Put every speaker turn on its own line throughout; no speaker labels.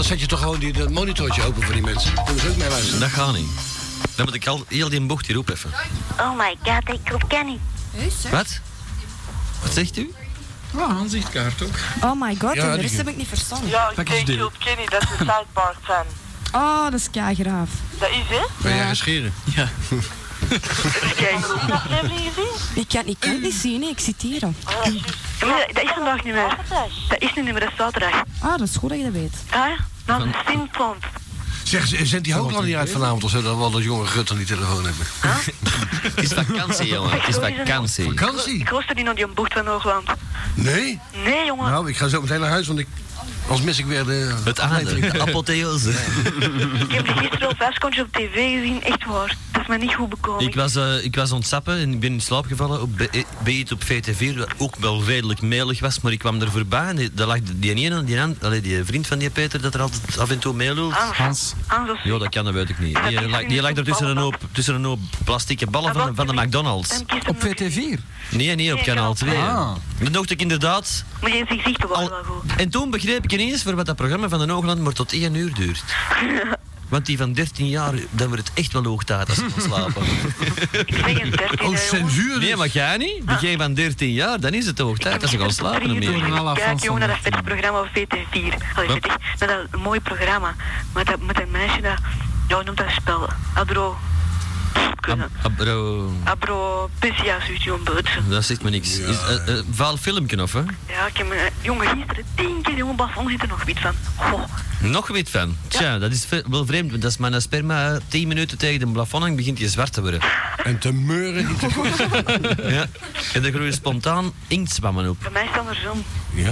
zet je toch gewoon die, dat monitortje open voor die mensen. Kunnen ze ook mee luisteren.
Dat gaat niet. Dan moet ik al heel die bocht hier opheffen.
Oh my god, ik roep Kenny.
Wat? Wat zegt u?
Ja, aanzichtkaart ook.
Oh my god,
Ja,
en de
die
rest
goed.
heb ik niet verstand.
Ja, ik
Pak eens
denk
dit.
je op Kenny, dat is de sidebar zijn.
Oh, dat is keigraaf.
Dat is hè?
Ben jij gescheren?
Ja.
Heb je die aflevering gezien?
Ik kan, ik kan het niet zien, hè. ik zit hier. al.
Oh, dat is juist.
Nee, dat is vandaag niet meer.
Zaterdag.
Dat is niet meer, dat is zaterdag.
Ah, dat is goed dat je dat weet.
Hè? Dan Simpland.
Zeg, z- zet die hoogland niet uit vanavond of zo, dat we al dat jonge gut aan die telefoon hebben.
Het is vakantie, jongen. Het is vakantie.
Vakantie?
Ik luister niet naar die bocht van Hoogland.
Nee?
Nee, jongen.
Nou, ik ga zo meteen naar huis, want ik... Anders mis ik weer de...
Het aandeel, de apotheose.
Ik heb die gisteren al vijf kontjes op tv gezien. Echt waar. Dat is me niet goed bekomen.
Ik was, eh, ik was ontsappen en ik ben in slaap gevallen op be- eh, bij op VT4, wat ook wel redelijk melig was, maar ik kwam er voorbij en die- daar lag die ene en die, an- allee, die vriend van die Peter dat er altijd af en toe mee lult.
Hans.
Hans.
Hans of
Ah. Ja, dat kan, dat weet ik niet. Die, lag- die lag er tussen een hoop, tussen een hoop plastieke ballen
Ah,
van, van de McDonald's.
Dan kiest hem
Op
nog eens.
VT4?
Nee, nee, op kanaal 2.
Ah.
Dan dacht ik inderdaad...
Maar je gezichten waren
Al,
wel goed.
en toen begreep ik ineens voor wat dat programma van de Hoogland maar tot één uur duurt. Want die van 13 jaar, dan wordt het echt wel hoog tijd als ze gaan slapen.
Ik zeg een 13
Oh,
hè, jongen.
censuur
Nee, maar jij niet? Begin van 13 jaar, dan is het hoog tijd als ze gaan slapen.
Ik
ermee.
Door een à la
kijk
Frans
jongen naar dat
van
vette programma op VT4. Allee,
Wat?
vet, echt, naar dat mooie programma. Met dat, met dat meisje dat... Ja, hoe noemt dat spel. Abro... Kunnen.
Ah, Bro,
Abro... Pissia, zoiets, jongen, buiten.
dat zegt me niks. Is, eh, eh, vaal filmpje of hè?
Ja, ik heb mijn jongen gisteren tien keer jongen plafond zit er nog wit van. Goh.
Nog weet van. Tja, dat is ve- wel vreemd, want als mijn sperma eh, 10 minuten tegen de plafond hangt, begint je zwart te worden.
en te meuren. niet te-
Ja. En er groeien spontaan inktzwammen op.
Bij mij is het andersom.
Ja.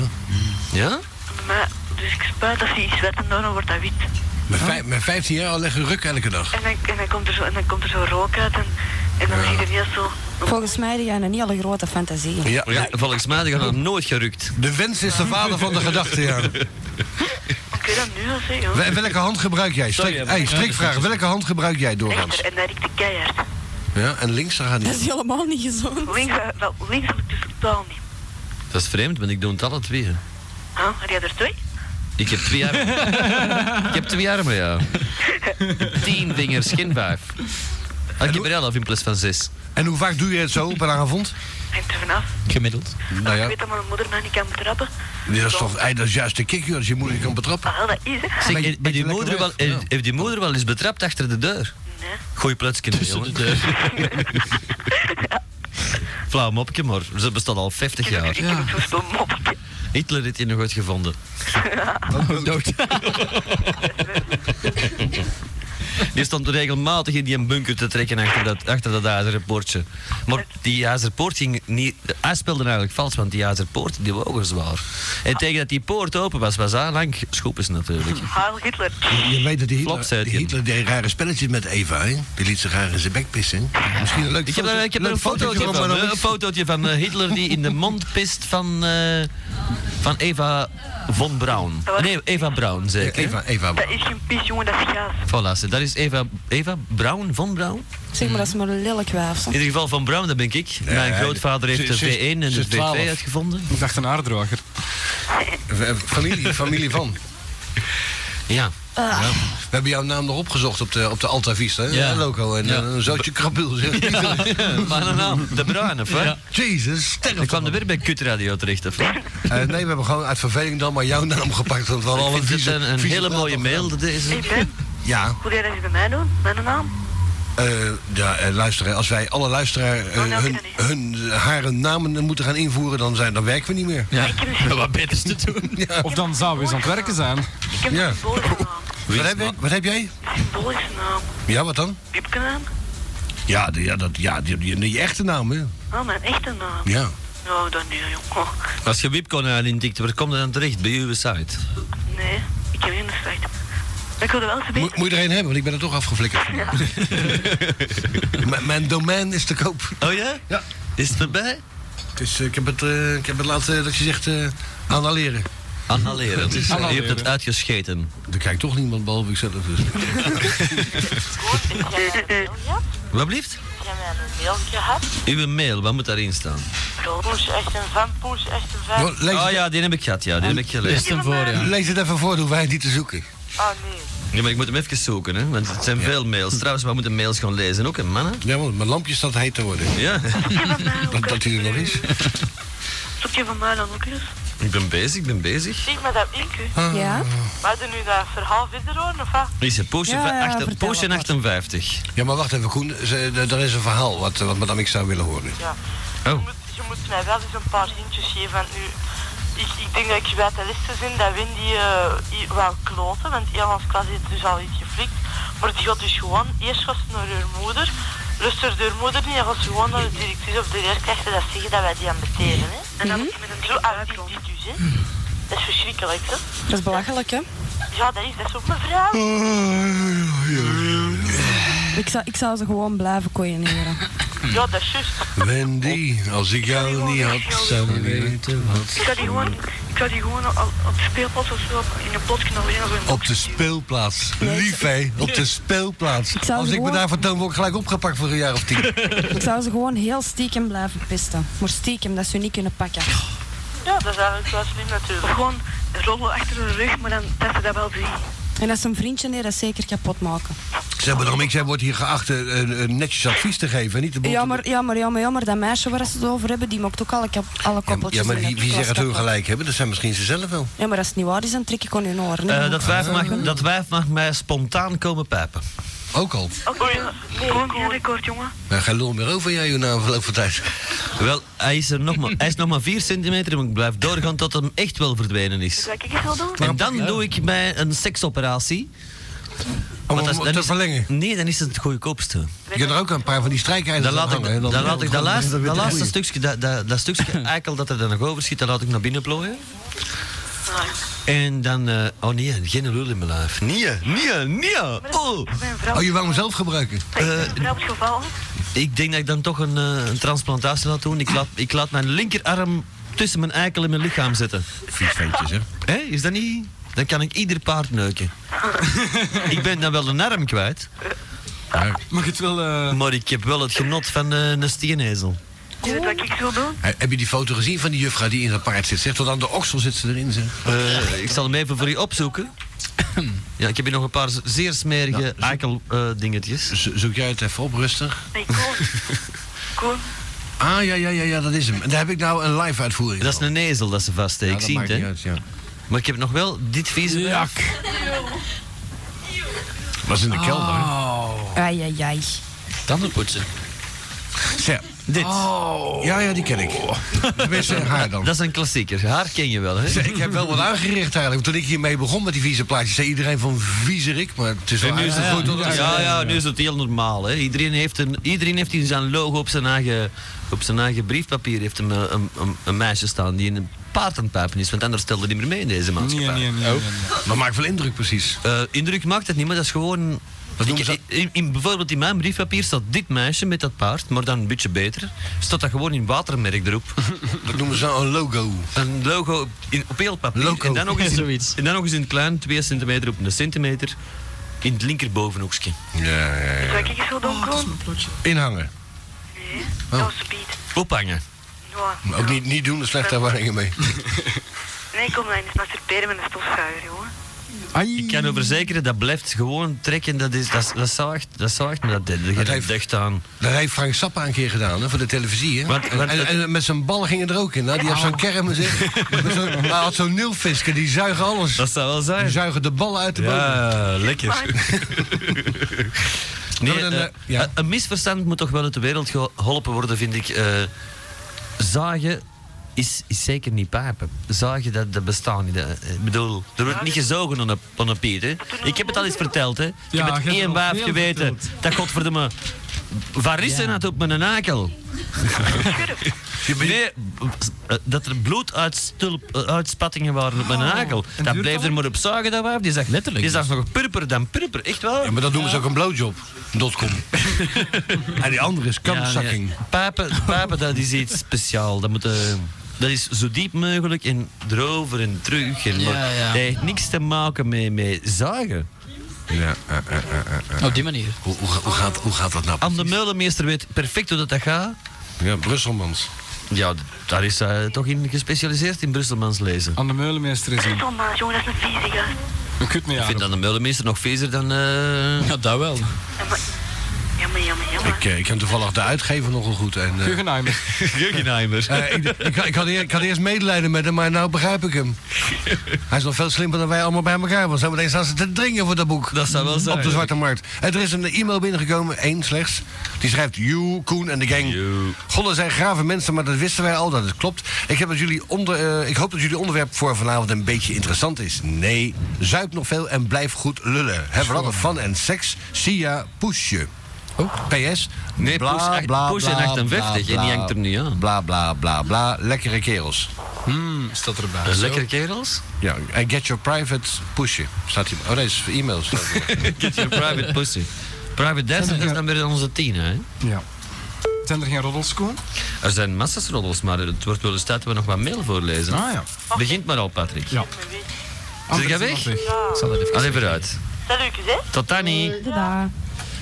Ja?
Bij mij, dus ik spuit als hij iets wet en daarna wordt dat wit.
Met, vijf, met 15 jaar al leggen ruk elke dag.
En dan, en dan, komt, er zo, en dan komt er zo rook uit en, en dan zie je er heel zo...
Volgens mij heb jij een niet alle grote fantasie.
Ja.
ja volgens mij gaan dat nooit gerukt.
De wens is de vader van de gedachte, ja.
Ik weet dat nu al zeggen, joh.
Wel- Welke hand gebruik jij? Strik,
Sorry,
hey, strikvraag. Welke hand gebruik jij doorgaans?
Rechter, en dat riekt keihard.
Ja, en links, daar gaat
Dat
niet.
is helemaal niet gezond.
Links, eh, wel, links heb ik dus totaal niet.
Dat is vreemd, want ik doe het alle twee. hè.
Huh? Had Ah, jij er twee?
Ik heb twee armen. ik heb twee armen, ja. Tien vingers, geen vijf. Ah, Ik heb er elf in plaats van zes.
En hoe vaak doe je het zo per avond?
Hangt er vanaf.
Gemiddeld.
Nou
Ik
ja,
weet dat mijn moeder mij niet kan betrappen.
dat is toch, hey, dat is juist de kick, joh, als je moeder je kan betrappen.
Ah, wel, dat is, hè.
Zeg,
Beetje-
heeft die,
beetje
moeder wel,
lekker wijf,
heeft, heeft die moeder wel eens betrapt achter de deur?
Nee.
Gooi plotske in de deur. Flauw mopje, maar ze bestaat al 50 jaar.
Ik heb het zo stil mopje.
Hitler heeft die nog uitgevonden. eh, Oh,
Dood.
Die stond regelmatig in die bunker te trekken achter dat, achter dat ijzeren poortje. Maar die ijzeren poort ging niet... Hij speelde eigenlijk vals, want die ijzeren poort die wogen zwaar. En tegen dat die poort open was, was hij lang schoepers natuurlijk.
Haal Hitler.
Je weet dat die
Klopt,
Hitler,
zei het,
die Hitler deed rare spelletjes met Eva, hè? Die liet zich graag in zijn bek pissen. Misschien een leuk
Ik heb,
foto-
daar- ik heb
leuk
daar een fotootje
maar
van,
dan
eh, een
is-
fotootje van eh, Hitler die in de mond pist van, eh, van Eva von Braun. Nee, Eva Braun zeker.
Eva, Eva.
Dat is geen pis, jongen, dat is gaas.
Voilà, ze- dat is Eva, Eva Braun, Von Braun?
Zeg maar, dat is maar een lelijk wijf. zo.
In ieder geval Van Braun, dat ben ik. Mijn grootvader heeft de
ze is-
V1 en
ze
de
is
V2
twaalf.
uitgevonden.
Ik dacht een aarddrager.
Eh, Familie, familie van.
Ja.
Ah,
We hebben jouw naam nog opgezocht op de, op de Alta Vista, hè?
Ja.
Loco, en
Ja.
eh, een zootje krabul, zeg.
Maar een naam, de Bruin, of wat?
Jezus, sterf.
Ik kwam er weer bij Kutradio terecht, of wat?
Eh, nee, we hebben gewoon uit verveling dan maar jouw naam gepakt. Want we hadden al
Ik
een
vind het
vieze,
een, een
vieze
hele
naam
mooie
al
mail,
gedaan.
dat is
Hey Ben,
Ja.
hoe jij dat eens bij mij doen? Mijn naam?
eh, ja, eh, luisteren, als wij alle luisteraars eh,
Oh, nou,
hun,
ik kan
hun, haar en namen moeten gaan invoeren, dan, zijn, dan werken we niet meer.
Ja,
Ik heb een-
wat beters te doen.
Of dan zouden we eens aan het werken zijn.
Ik heb
Ja.
een symbolische naam.
Wat heb, ik- wat heb jij?
Een symbolische naam.
Ja, wat dan?
Heb ik een naam?
Ja, die- ja, dat, ja die, die, die echte naam, hè?
Oh, mijn echte naam.
Ja.
Nou, dan niet, jong. Oh,
Als je Wipcon intikt, waar komt dat dan terecht? Bij uw site?
nee, ik heb geen site. Ik wilde wel eens
Mo-
weten.
moet je er een hebben, want ik ben er toch afgeflikkerd. M- mijn domein is te koop.
Oh ja?
Ja.
Is het voorbij?
Het is, eh, ik, heb het, eh, ik heb het laatste dat je zegt eh analeren.
Annaleren. Je hebt het uitgescheten.
Er kijkt toch niemand behalve ikzelf. Dus.
Goed, heb jij een mail gehad?
Wat blieft?
Heb jij een mail gehad?
Uw mail, wat moet daarin staan?
Poes echt een fan, poes echt een fan.
Nou, lees,
Oh
het,
ja, die heb ik gehad, ja, die heb ik
Best
gelezen.
hem voor, Oh, ja.
lees het even voor, dan hoeven wij het niet te zoeken.
Oh nee.
Ja, maar ik moet hem even zoeken, hè, want het zijn veel mails. Trouwens, we moeten mails gaan lezen, ook hè, mannen?
Ja, want mijn lampje staat heet te worden.
Ja,
Zoek je van mij
Dat,
ook
dat hij er nog is.
Zoek je van mij dan ook eens?
ik ben bezig, ik ben bezig.
Zeg maar dat ik.
Ja?
Maar doen nu dat verhaal verder hoor, of wat?
Is het Poosje,
Ja,
va-
ja,
acht-
vertel
Poosje
maar.
58?
Ja, maar wacht even, Koen. Ze, d- er is een verhaal wat, eh, wat madame ik zou willen horen.
Ja. Je,
Oh.
moet, je moet mij wel eens een paar hintjes geven. Want nu, ik, ik denk dat ik bij de listen zijn dat Win die eh, i- wel kloten. Want heel ons klas heeft dus al iets geflikt. Maar die gaat dus gewoon, eerst was naar haar moeder. Luister haar moeder niet, en gaat ze gewoon naar de directrice of de leerkrachten dat zeggen dat wij die aan beteren. Hè?
En dan moet je met een
Zo
druk
arrogant
uitkomen.
die dus, hè. Dat is verschrikkelijk, hè?
Dat is belachelijk, hè?
Ja, dat is, dat is ook mevrouw.
Mhm.
Ik zou, ik zou ze gewoon blijven koeieneren.
Ja, dat is juist.
Wendy, als ik jou niet had, zou ik weten wat.
Ik zou die gewoon, ik zou die gewoon al- op de speelplaats of zo op- in een pot knallen. en zo in-
Op de speelplaats.
Nee, ik-
Lief, hè? Op de speelplaats.
Ik zou
Als ik me
gewoon-
daarvoor toon, word ik gelijk opgepakt voor een jaar of tien.
Ik zou ze gewoon heel stiekem blijven pisten. Maar stiekem, dat ze je niet kunnen pakken.
Ja, dat is eigenlijk wel slim
Of
natuurlijk.
gewoon rollen achter hun rug, maar dan dat ze dat wel zien.
En als een vriendje neer, dat zeker kapot maken.
Zeg maar, ik zij wordt hier geacht eh, eh, eh, netjes advies te geven. Niet de boel te-
Jammer, jammer, jammer, jammer. Dat meisje waar ze het over hebben, die maakt ook alle, kap- alle
Ja,
koppeltjes.
ja, maar
in
wie,
de
wie
klas
zegt dat hun
kapot.
gelijk hebben? Dat zijn misschien ze zelf wel.
Ja, maar als het niet waar is, dan trek ik gewoon hun oren.
Eh, dat, wijf mag, dat wijf mag mij spontaan komen pijpen.
Ook al.
Oké, gewoon geen record, jongen.
Nou, geen lul meer over jij, na een verloop van tijd.
Wel, hij is, er nog maar, hij is nog maar 4 centimeter, maar ik blijf doorgaan tot hem echt wel verdwenen is.
Zou ik het wel doen?
En dan doe ik mij een seksoperatie.
Oh, Om
want
hem
dat- dan
te
is-
verlengen.
Nee, dan is het het goedkoopste.
Je kan er ook een paar van die strijkijzers
Dan
aan
laat ik,
hangen, hè,
dan,
dan-
laat ik
dan
dat laatste,
gaan we
dat
weer te
laatste
boeien.
stukje, dat, dat, dat stukje eikel dat er dan nog over schiet, dat laat ik naar binnen plooien. En dan, eh, oh nee, geen lul in mijn lijf. Nee, nee, nee. Oh.
Ik ben een vrouw.
Oh, eh, je wou hem zelf gebruiken?
Ik ben een vrouw gevallen.
Ik denk dat ik dan toch een, eh, een transplantatie laat doen. Ik laat, ik laat mijn linkerarm tussen mijn eikel en mijn lichaam zitten.
Vies ventjes, hè?
Hé, is dat niet? Dan kan ik ieder paard neuken. ik ben dan wel een arm kwijt,
Mag het wel... eh,
maar ik heb wel het genot van eh, een steenezel.
Je weet wat ik wil doen?
Hey, Heb je die foto gezien van die juffrouw die in dat paard zit? Zeg, tot aan de oksel zit ze erin, zeg.
Eh, ik zal hem even voor u opzoeken. Ja, ik heb hier nog een paar z- zeer smerige eh, eikel-dingetjes.
Zo- Zoek jij het even op, rustig.
Nee, Koen. Koen,
Ah, ja, ja, ja, ja, dat is hem. En daar heb ik nou een live uitvoering
dat is
van.
een ezel dat ze vaststeekt,
Ja,
ik
dat
zie het,
maakt niet
hè.
uit, ja.
Maar ik heb nog wel dit vieze...
Jak.
Was in de kelder. hè?
Ai, ai, ai.
Tanden poetsen.
Zeg,
Dit.
Oh. ja, ja, die ken ik. Tenminste, haar dan.
Dat is een klassieker. Haar ken je wel, hè?
Zeg, Ik heb wel wat aangericht eigenlijk. Want Toen ik hiermee begon met die vieze plaatjes, zei iedereen van vieze Rick. Maar het is wel
nu is het
aardig.
goed. Ja, ja, nu is het heel normaal. Hè. Iedereen, heeft een, iedereen heeft in zijn logo op zijn eigen, op zijn eigen briefpapier heeft hem, eh, een, een, een meisje staan die in een paard aan het pijpen is. Want anders stelde hij niet meer mee in deze
Nee,
maatschappij.
nee, nee. nee, nee.
Oh.
Maar maakt wel indruk precies.
Eh, indruk maakt het niet, maar dat is gewoon...
Dat doen
Ik-
ze-
in, in- bijvoorbeeld in mijn briefpapier staat dit meisje met dat paard, maar dan een beetje beter. Staat dat gewoon in watermerk erop.
Dat noemen ze nou een logo.
een logo op- in, op heel papier.
Logo.
En dan nog eens in,
Zoiets.
En dan nog eens in het klein, 2 centimeter op een centimeter. In het linkerbovenhoekje.
Ja, ja, ja.
zou ik het wel doen,
Oh,
Koen?
Inhangen.
Nee. Dat is beat.
Ophangen.
Ja.
Oh. Maar ook niet, niet doen, er slechte ervaringen mee.
Nee, kom dan eens masturberen met een stofzuiger, jongen.
Ai.
Ik kan u verzekeren, dat blijft gewoon trekken. Dat, is, dat, is- dat zou echt, dat zou echt me dat deed. Dat
heeft-
heeft echt aan.
Dat heeft Frank Sappa een keer gedaan, hè, voor de televisie. Hè?
Want- want-
en, en met zijn ballen gingen er ook in. Hè? Die had
Oh.
zo'n kerm, zeg. Met zo'n- Hij had zo'n nilvisken, die zuigen alles.
Dat zou wel
Die
zijn.
zuigen de ballen uit de boom.
Ja, lekker. nee,
Dan,
eh,
eh, ja.
een- Een misverstand moet toch wel uit de wereld geholpen worden, vind ik. Eh, zagen is, is zeker niet pijpen. Zagen, dat, dat bestaat niet. Eh, Ik bedoel, er wordt niet gezogen aan een, aan een piet. Hè. Ik heb het al eens verteld. Hè. Ik
Ja,
heb
je
het één
hebt het al
waaf
veel
geweten.
verteld.
Dat godverdomme... Varissen had op mijn nakel. Nee, eh, dat er bloeduitspattingen waren op mijn nakel. Oh, Dat bleef er maar op zagen, dat waaf. Die zag,
Letterlijk
Die zag nog purper dan purper. Echt wel.
Ja, maar dat doen ze ook een blowjob. Dotcom. en die andere is kampzakking.
Ja, nee. Papen, papen, dat is iets speciaals. Dat, moet, eh, dat is zo diep mogelijk en erover en terug. En,
Ja,
maar
ja.
Dat heeft niks te maken met, met zagen.
Op die manier.
Hoe, hoe, hoe gaat, hoe gaat dat nou?
Anne de Meulenmeester weet perfect hoe dat, dat gaat.
Ja, Brusselmans.
Ja, d- daar is hij toch in gespecialiseerd in Brusselmans lezen.
Anne Meulenmeester is een,
Thomas, jongen, dat is een vieze gast.
een kutmejaar.
Ik vind Anne de Meulenmeester nog vezer dan... eh,
Ja, dat wel.
Ja, maar, ja, maar, ja, maar, ja, maar.
Ik, eh, ik ken toevallig de uitgever nogal goed. En, eh,
Guggenheimer.
Guggenheimer.
eh, ik, ik, ik had eer- ik had eerst medelijden met hem, maar nou begrijp ik hem. Hij is nog veel slimmer dan wij allemaal bij elkaar. Want zo meteen staan ze te dringen voor dat boek.
Dat zou wel zijn.
Op de Zwarte Markt. En er is een e-mail binnengekomen, één slechts. Die schrijft, you, Koen en de gang. Gollen zijn grave mensen, maar dat wisten wij al, dat het klopt. Ik, heb dat jullie onder, eh, ik hoop dat jullie onderwerp voor vanavond een beetje interessant is. Nee, zuip nog veel en blijf goed lullen. Heb er altijd van en seks. Sia, poesje. PS.
Nee, poes acht- poes in 58 en die hangt er nu aan.
Bla, bla, bla, bla. Lekkere kerels.
Hmm, staat erbij.
Eh, Lekkere kerels.
Ja, en get your private poesje. Staat hier. Oh, nee, dat is voor e-mails.
Get your private pussy. Private dancer, dat is dan weer onze tien, hè?
Ja. Zijn er geen roddels, Koen?
Er zijn massas roddels, maar het wordt wel eens tijd dat we nog wat mail voorlezen.
Ah, ja.
Begint maar al, Patrick.
Ja.
Zeg jij
Anders Ah, is
weg?
het nog
Ik zal dat even
Allee, vooruit.
leuk is, hè?
Tot dan niet.
Tada.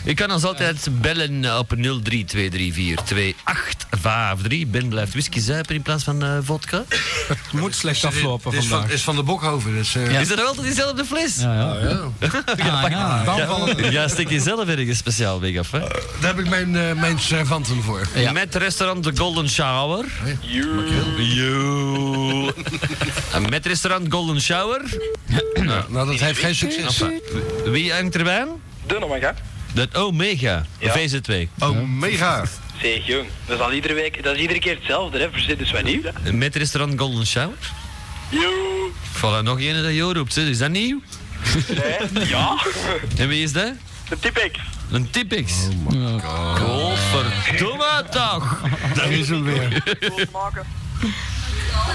U kan ons altijd bellen eh, op 032342853. Ben blijft whisky zuipen in plaats van eh, vodka.
Het moet slecht aflopen
Het is van,
vandaag.
is van de Bokhoven. Dus, eh,
Is dat wel altijd diezelfde fles?
Ja, ja. Ah, ja.
Dan vallen de-
Ja, stik je zelf ergens speciaal weg af, hè?
Daar heb ik mijn, eh, mijn servanten voor.
Ja.
Met restaurant The Golden Shower. You. En Met restaurant Golden Shower.
Nou, dat heeft geen succes.
Enfin, Wie hangt erbij aan?
De Omega.
Dat Omega,
Ja.
VZ2.
Oh, mega.
Zeg jong, dat is al iedere week, dat is iedere keer hetzelfde hè, verzet dus wat nieuw hè.
Met restaurant Golden Shower.
Yo.
Voilà, nog een dat jou roept, hè. is dat nieuw?
Nee, ja.
En wie is dat?
De tipek.
Een Tipix. Oh my god. Godverdomme toch!
Daar is hem weer.
maken.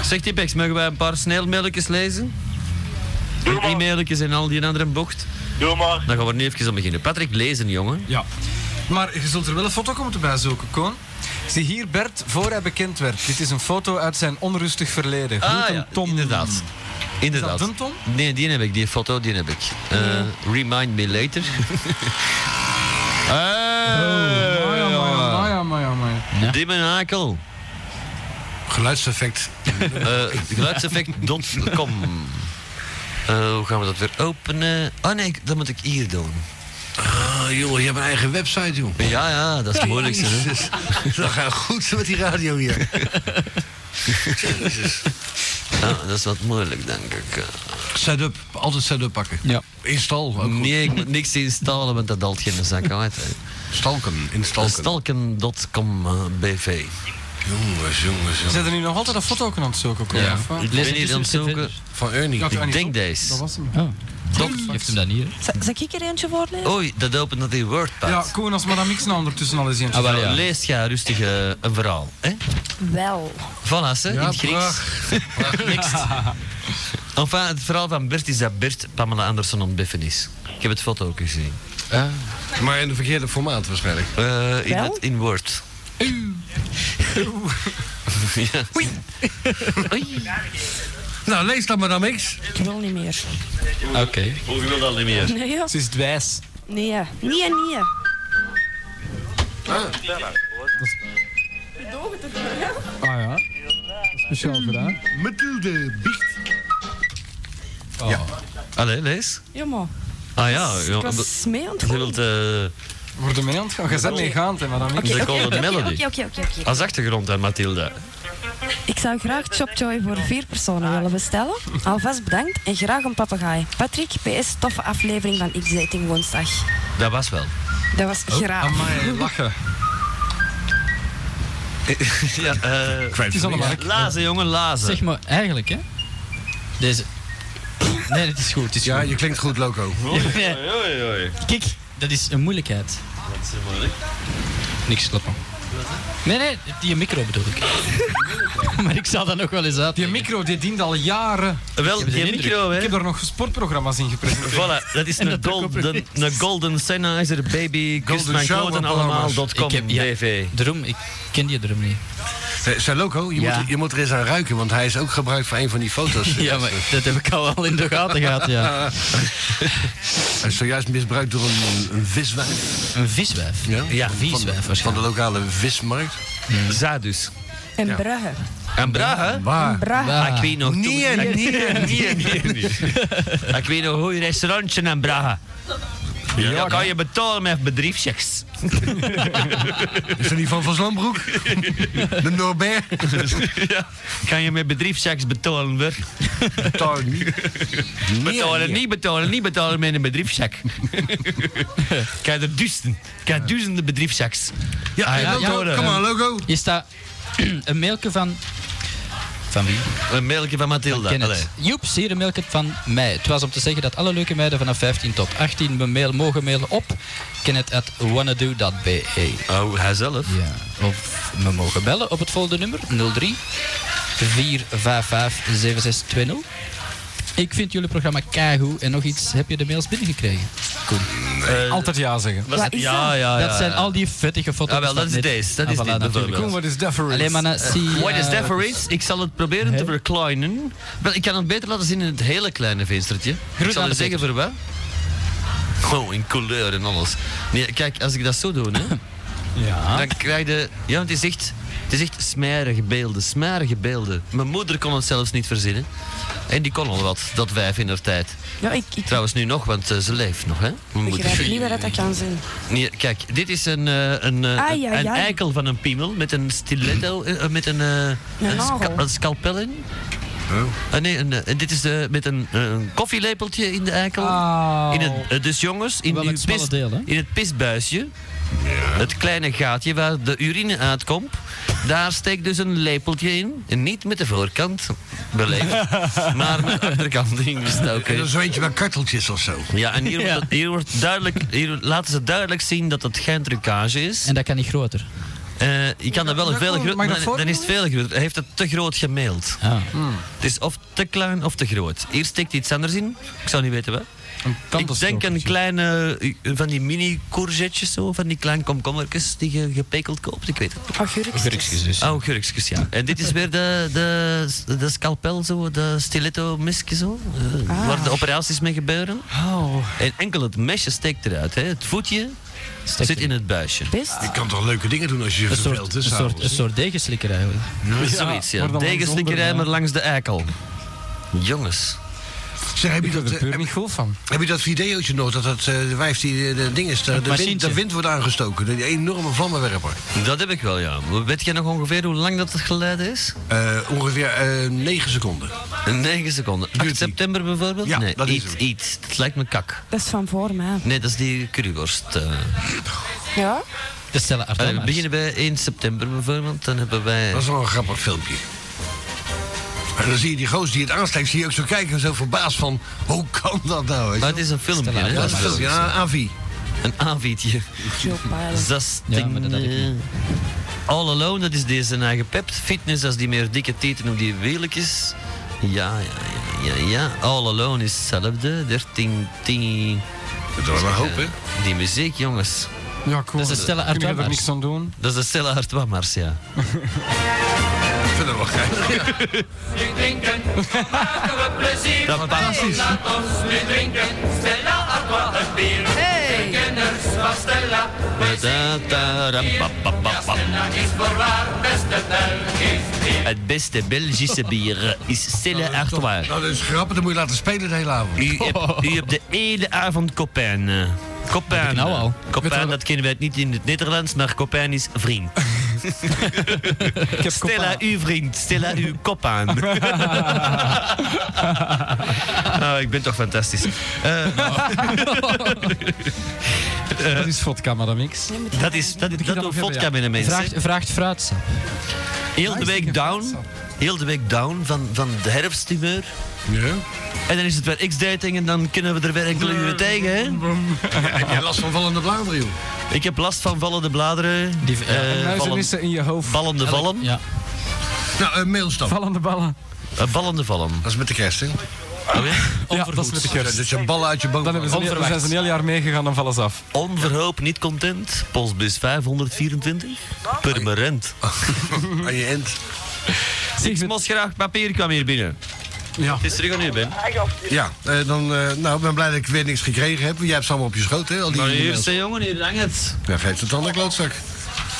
Zeg Tipix, mogen wij een paar snelmailtjes lezen? En e-mailtjes en al die andere bocht.
Doe maar.
Dan gaan we er nu even aan beginnen. Patrick, lezen jongen.
Ja. Maar je zult er wel een foto moeten bijzoeken, Koen. Zie hier Bert voor hij bekend werd. Dit is een foto uit zijn onrustig verleden. Groeten, Tom.
Ah, inderdaad. Inderdaad.
Is dat een Tom?
Nee, die heb ik, die foto, die heb ik. Eh, Remind me later. Eh,
Oh,
hey,
Ah, ja, maar ja, maar ja, maar ja, maar ja.
Dimme nakel.
Geluidseffect.
Eh, geluidseffect.com. Eh, hoe gaan we dat weer openen? Oh nee, dat moet ik hier doen.
Ah, joh, je hebt een eigen website, joh.
Ja, ja, dat is het moeilijkste. hè.
Jezus. Dat gaat goed met die radio hier. Jezus.
Ah, dat is wat moeilijk, denk ik. Eh,
Setup. Altijd setup pakken.
Ja.
Install. Ook goed.
Nee, ik moet niks installen, want dat daalt geen zak uit. hè.
Stalken. Instalken.
Stalken.com eh, bv.
jongens, jongens, jongens.
Zijn er nu nog altijd een foto ook aan het zoeken, Koen?
Ja.
of eh? wat?
Ik
Lees
ben
het
hier
tussen,
aan het
zet
zoeken.
verder.
Van Ernie.
Gaat er
Ik
Ah, niet
denk
op? Dat
deze.
was hem.
Oh. Heeft hem dat niet, hè?
Z- Zal ik er eentje voorlezen?
Oei, dat opent dat die WordPad.
Ja, Koen, als Madame X nou ondertussen al eens eentje
Ah, wel,
zegt.
ja.
Dus Lees jij rustig eh, een verhaal. Hè?
Wel.
Voilà, hè, in het Grieks. Next. Enfin, het verhaal van Bert is dat Bert Pamela Anderson ontbeffen is. Ik heb het foto ook gezien.
Maar in het verkeerde formaat waarschijnlijk.
Eh, in,
Wel?
het, in Word. ja. Oei.
Nou, lees dan maar dan niks.
Ik wil niet meer.
Oké.
Hoe Oh, wil dat niet meer?
Nee, ja.
Ze is dwijs.
nee. ja. Nee, ja, nee. ja.
Ah ja. Speciaal voor haar.
Mathilde Biecht. Ja.
Allee, lees.
Ja, maar.
Ah ja,
Ik
ja,
was mee aan het
je
gooien.
wilt eh,
Worden mee aan het gaan? Je bent meegaand, hè, madame.
Oké,
ze
oké,
callen
oké,
de
oké,
melody.
Oké, oké, oké, oké.
als achtergrond aan Mathilda.
Ik zou graag Chopjoy voor vier
Ah.
personen willen bestellen. Alvast bedankt en graag een papegaai. Patrick, PS, toffe aflevering van X Dating Woensdag.
Dat was wel.
Dat was
Oh, ah,
graag.
Amai, lachen.
ja, eh,
Kwijt.
Het is allemaal.
lazen, jongen, lazen.
Zeg maar, eigenlijk, hè. Deze... Nee, het is goed, het is
Ja,
goed.
je klinkt goed, loco.
Nee,
Oei, oei.
Kijk, dat is een moeilijkheid. Niks kloppen. Nee, nee, die micro bedoel ik. maar ik zal dat nog wel eens uit.
Die micro die dient al jaren.
Wel,
heb de
die
indruk.
micro,
Ik
Oh, hè.
heb daar nog sportprogramma's in gepresenteerd.
Voilà, dat is
En
een
dat ook op
golden, een golden Sennheiser baby, kust
Golden
mijn
shower
kloten
programma's.
allemaal dot com,
Ik heb- ja.
BV.
Drum, ik ken die drum niet.
Zeg, zeg, Eh, loco, je,
Ja.
moet, je moet er eens aan ruiken, want hij is ook gebruikt voor een van die foto's.
Ja, maar dat heb ik al wel in de gaten gehad, ja.
Hij is zojuist misbruikt door een, een viswijf.
Een viswijf.
Ja,
Ja,
Van-
viswijf
Van de
waarschijnlijk.
lokale vismarkt.
Zadus.
En Brugge.
En dus. Braga?
Waar?
Brugge.
Ah.
Ik weet nog toen-
Nee,
ik-
nee,
nee, nee, nee. Ik weet nog een goed restaurantje in Braga. Ja, dan kan je betalen met bedrijfschecks.
Is er niet van Van Slambroek? De Norbert?
ja. Kan je met bedrijfschecks betalen, hoor.
Daar niet.
Betalen, niet betalen, niet betalen met een bedrijfscheck. Kijk er duizenden, kijk duizenden bedrijfschecks.
Ja,
Ah, ja,
logo,
ja, hoor,
kom
eh.
maar, logo.
Is dat een mailje van... Van wie?
Een mailtje van Mathilda.
Ken
Allee.
het. Joeps, hier een mailje van mij. Het was om te zeggen dat alle leuke meiden vanaf 15 tot 18 me mail mogen mailen op kennet.wannado.be.
Oh, hij zelf?
Ja, of we mogen bellen op het volgende nummer 03 455 7620. Ik vind jullie programma keigoed en nog iets, heb je de mails binnengekregen? Koen.
Altijd ja zeggen.
Was
Wat
het-
is
ja,
dat?
Ah, ja, ja.
Dat zijn al die vettige foto's.
Ah, wel, dat is
van net.
deze. Dat
Ah,
is
voilà,
dit bijvoorbeeld.
Koen, wat is dat voor
Alleen
iets?
maar dan zie je...
What is that
eh,
for it? Ik zal het proberen te
Hè?
verkleinen. Wel, ik kan het beter laten zien in het hele kleine venstertje. Ik
Groet
zal
aan
je
de
zeggen voor wat. Gewoon in kleur en alles. Nee, kijk, als ik dat zo doe, hè,
Ja.
dan krijg je... Ja, want het is echt... Het is echt smerige beelden, smerige beelden. Mijn moeder kon het zelfs niet verzinnen. En die kon al wat, dat wijf in haar tijd.
Ja, ik, ik
Trouwens nu nog, want eh, ze leeft nog, hè? Mijn moeder.
begrijp niet waar dat dat kan zijn.
Nee, kijk, dit is een, eh, een, eh,
Ai, ai,
een
ai.
eikel van een piemel met een stiletto, eh, eh, met een, eh, een,
Nou.
sca-
nagel.
een scalpel in.
Oh.
Ah, nee, een, eh, en dit is de, met een, eh, een koffielepeltje in de eikel.
Au.
In het, eh, dus jongens, in,
Oh. Wel
uw
het smalle
pis-
deel, hè?
in het pisbuisje, het kleine gaatje waar de urine uitkomt, daar steekt dus een lepeltje in. En niet met de voorkant, beleefd, maar met de achterkant ingestoken.
En dan zo eentje met karteltjes of zo.
Ja, en hier, wordt, hier, wordt duidelijk, hier laten ze duidelijk zien dat het geen trucage is.
En dat kan niet groter.
Eh, je kan dat wel
Mag dat
veel
wel?
groter,
Mag
maar
dat
dan- dan is het veel groter. Hij heeft het te groot gemaild.
Ah.
Het is of te klein of te groot. Hier steekt iets anders in. Ik zou niet weten wat. Ik denk een kleine, eh, van die mini courgettejes zo, van die kleine komkommertjes die je gepekeld koopt. Ik weet het. niet.
Augurkjes.
dus.
Oh, gurkjes, ja. En dit is weer de, de, de scalpel zo, de stiletto mesje zo, eh, waar de operaties mee gebeuren. En enkel het mesje steekt eruit. Hè. Het voetje
Steekt
zit in het buisje.
Best.
Je kan toch leuke dingen doen als je je
Een
verveelt,
soort,
hè?
een soort, een
s'avonds?
soort degenslikker eigenlijk.
Zoiets, ja.
maar dan
Degenslikkerij,
zonder,
maar langs de eikel. Jongens.
Zeg, heb je
Ik heb
dat,
er
eh,
puur niet goed van.
heb je dat videootje nog? Dat dat eh, wijf die eh, de ding is, de,
Het
de, wind,
machientje.
de wind wordt aangestoken. Die enorme vlammenwerper.
Dat heb ik wel, ja. Weet jij nog ongeveer hoe lang dat het geleden is?
Eh, ongeveer eh 9 seconden.
9 seconden. 8
Duurt die.
september bijvoorbeeld?
Ja,
nee,
dat is
iets,
hem.
iets. Het lijkt me kak.
Dat is van voor mij.
Nee, dat is die curryworst. eh.
Ja?
De Stella
Eh,
Artois.
we beginnen bij 1 september bijvoorbeeld. Dan hebben wij...
Dat is wel een grappig filmpje. En dan zie je die goos die het aansteekt, zie je ook zo kijken, zo verbaasd van... Hoe kan dat nou?
Maar
weet je
Ah,
wel?
het is een filmpje, hè?
Ja, dat is een filmpje. Ja, AVI.
Een aanvietje.
Joe Biden.
Ja, maar dat had ik
Zastien. All Alone, dat is deze zijn eigen pept. Fitness, dat is die meer dikke tieten op die wieltjes. Ja, ja, ja, ja, ja. All Alone is hetzelfde. 13, 10.
Dat is maar hoop, hè?
Die muziek, jongens.
Ja, cool.
Dat is een stella
Kun je
Artois.
er niks aan doen?
Dat is de Stella Artois Mars, ja.
Ik vind dat wel geinig.
Dat past. Da, da, da, ba, ba, ba, ba.
is voorwaar beste tuin is die.
Het beste Belgische bier is Stille Artois.
Nou, dat is grappig, dat moet je laten spelen de hele avond.
U hebt, u hebt de hele avond Copain. eh, Copain.
ik nou al.
Weet je
Copain,
wat-
dat kennen wij niet in het Nederlands, maar Copain is vriend.
Ik heb
Stella,
copain.
uw vriend. Stella, uw kop aan. oh, ik ben toch fantastisch. Eh,
Dat is vodka, madame X.
Nee, moet je
dat is, dat,
ik
dat,
dat nog
doet
hebben,
vodka
ja.
met de mensen.
Vraagt, vraagt fruitsap.
Heel de week down. Heel de week down van, van de herfsthumeur.
Ja.
En dan is het weer X-dating en dan kunnen we er weer enkele uren tegen. Hè?
Heb jij last van vallende bladeren, joh?
Ik heb last van vallende bladeren.
Die- ja.
eh, vallen-
Muizenissen in je hoofd.
Vallende vallen.
Ja.
Nou, eh, mails dan.
Vallende ballen.
Eh, vallende vallen.
Dat is met de kerst, hè?
Oh, ja?
Ja, dat is met de kerst.
Dat je ballen uit je boom
Dan hebben ze een, dan zijn ze een heel jaar meegegaan, dan vallen ze af.
Onverhoopt niet content. Postbus 524. Permanent.
aan je end.
Zeg,
Mos graag papier kwam hier binnen.
ja.
Het is terug aan u, Ben.
Ja, eh, dan, eh, nou, ik ben blij dat ik weer niks gekregen heb. Jij hebt ze allemaal op je schoot, hè? Al die
Maar hier
e-mails.
is de jongen, hier hangt het.
Ja, geef het dan de klootzak.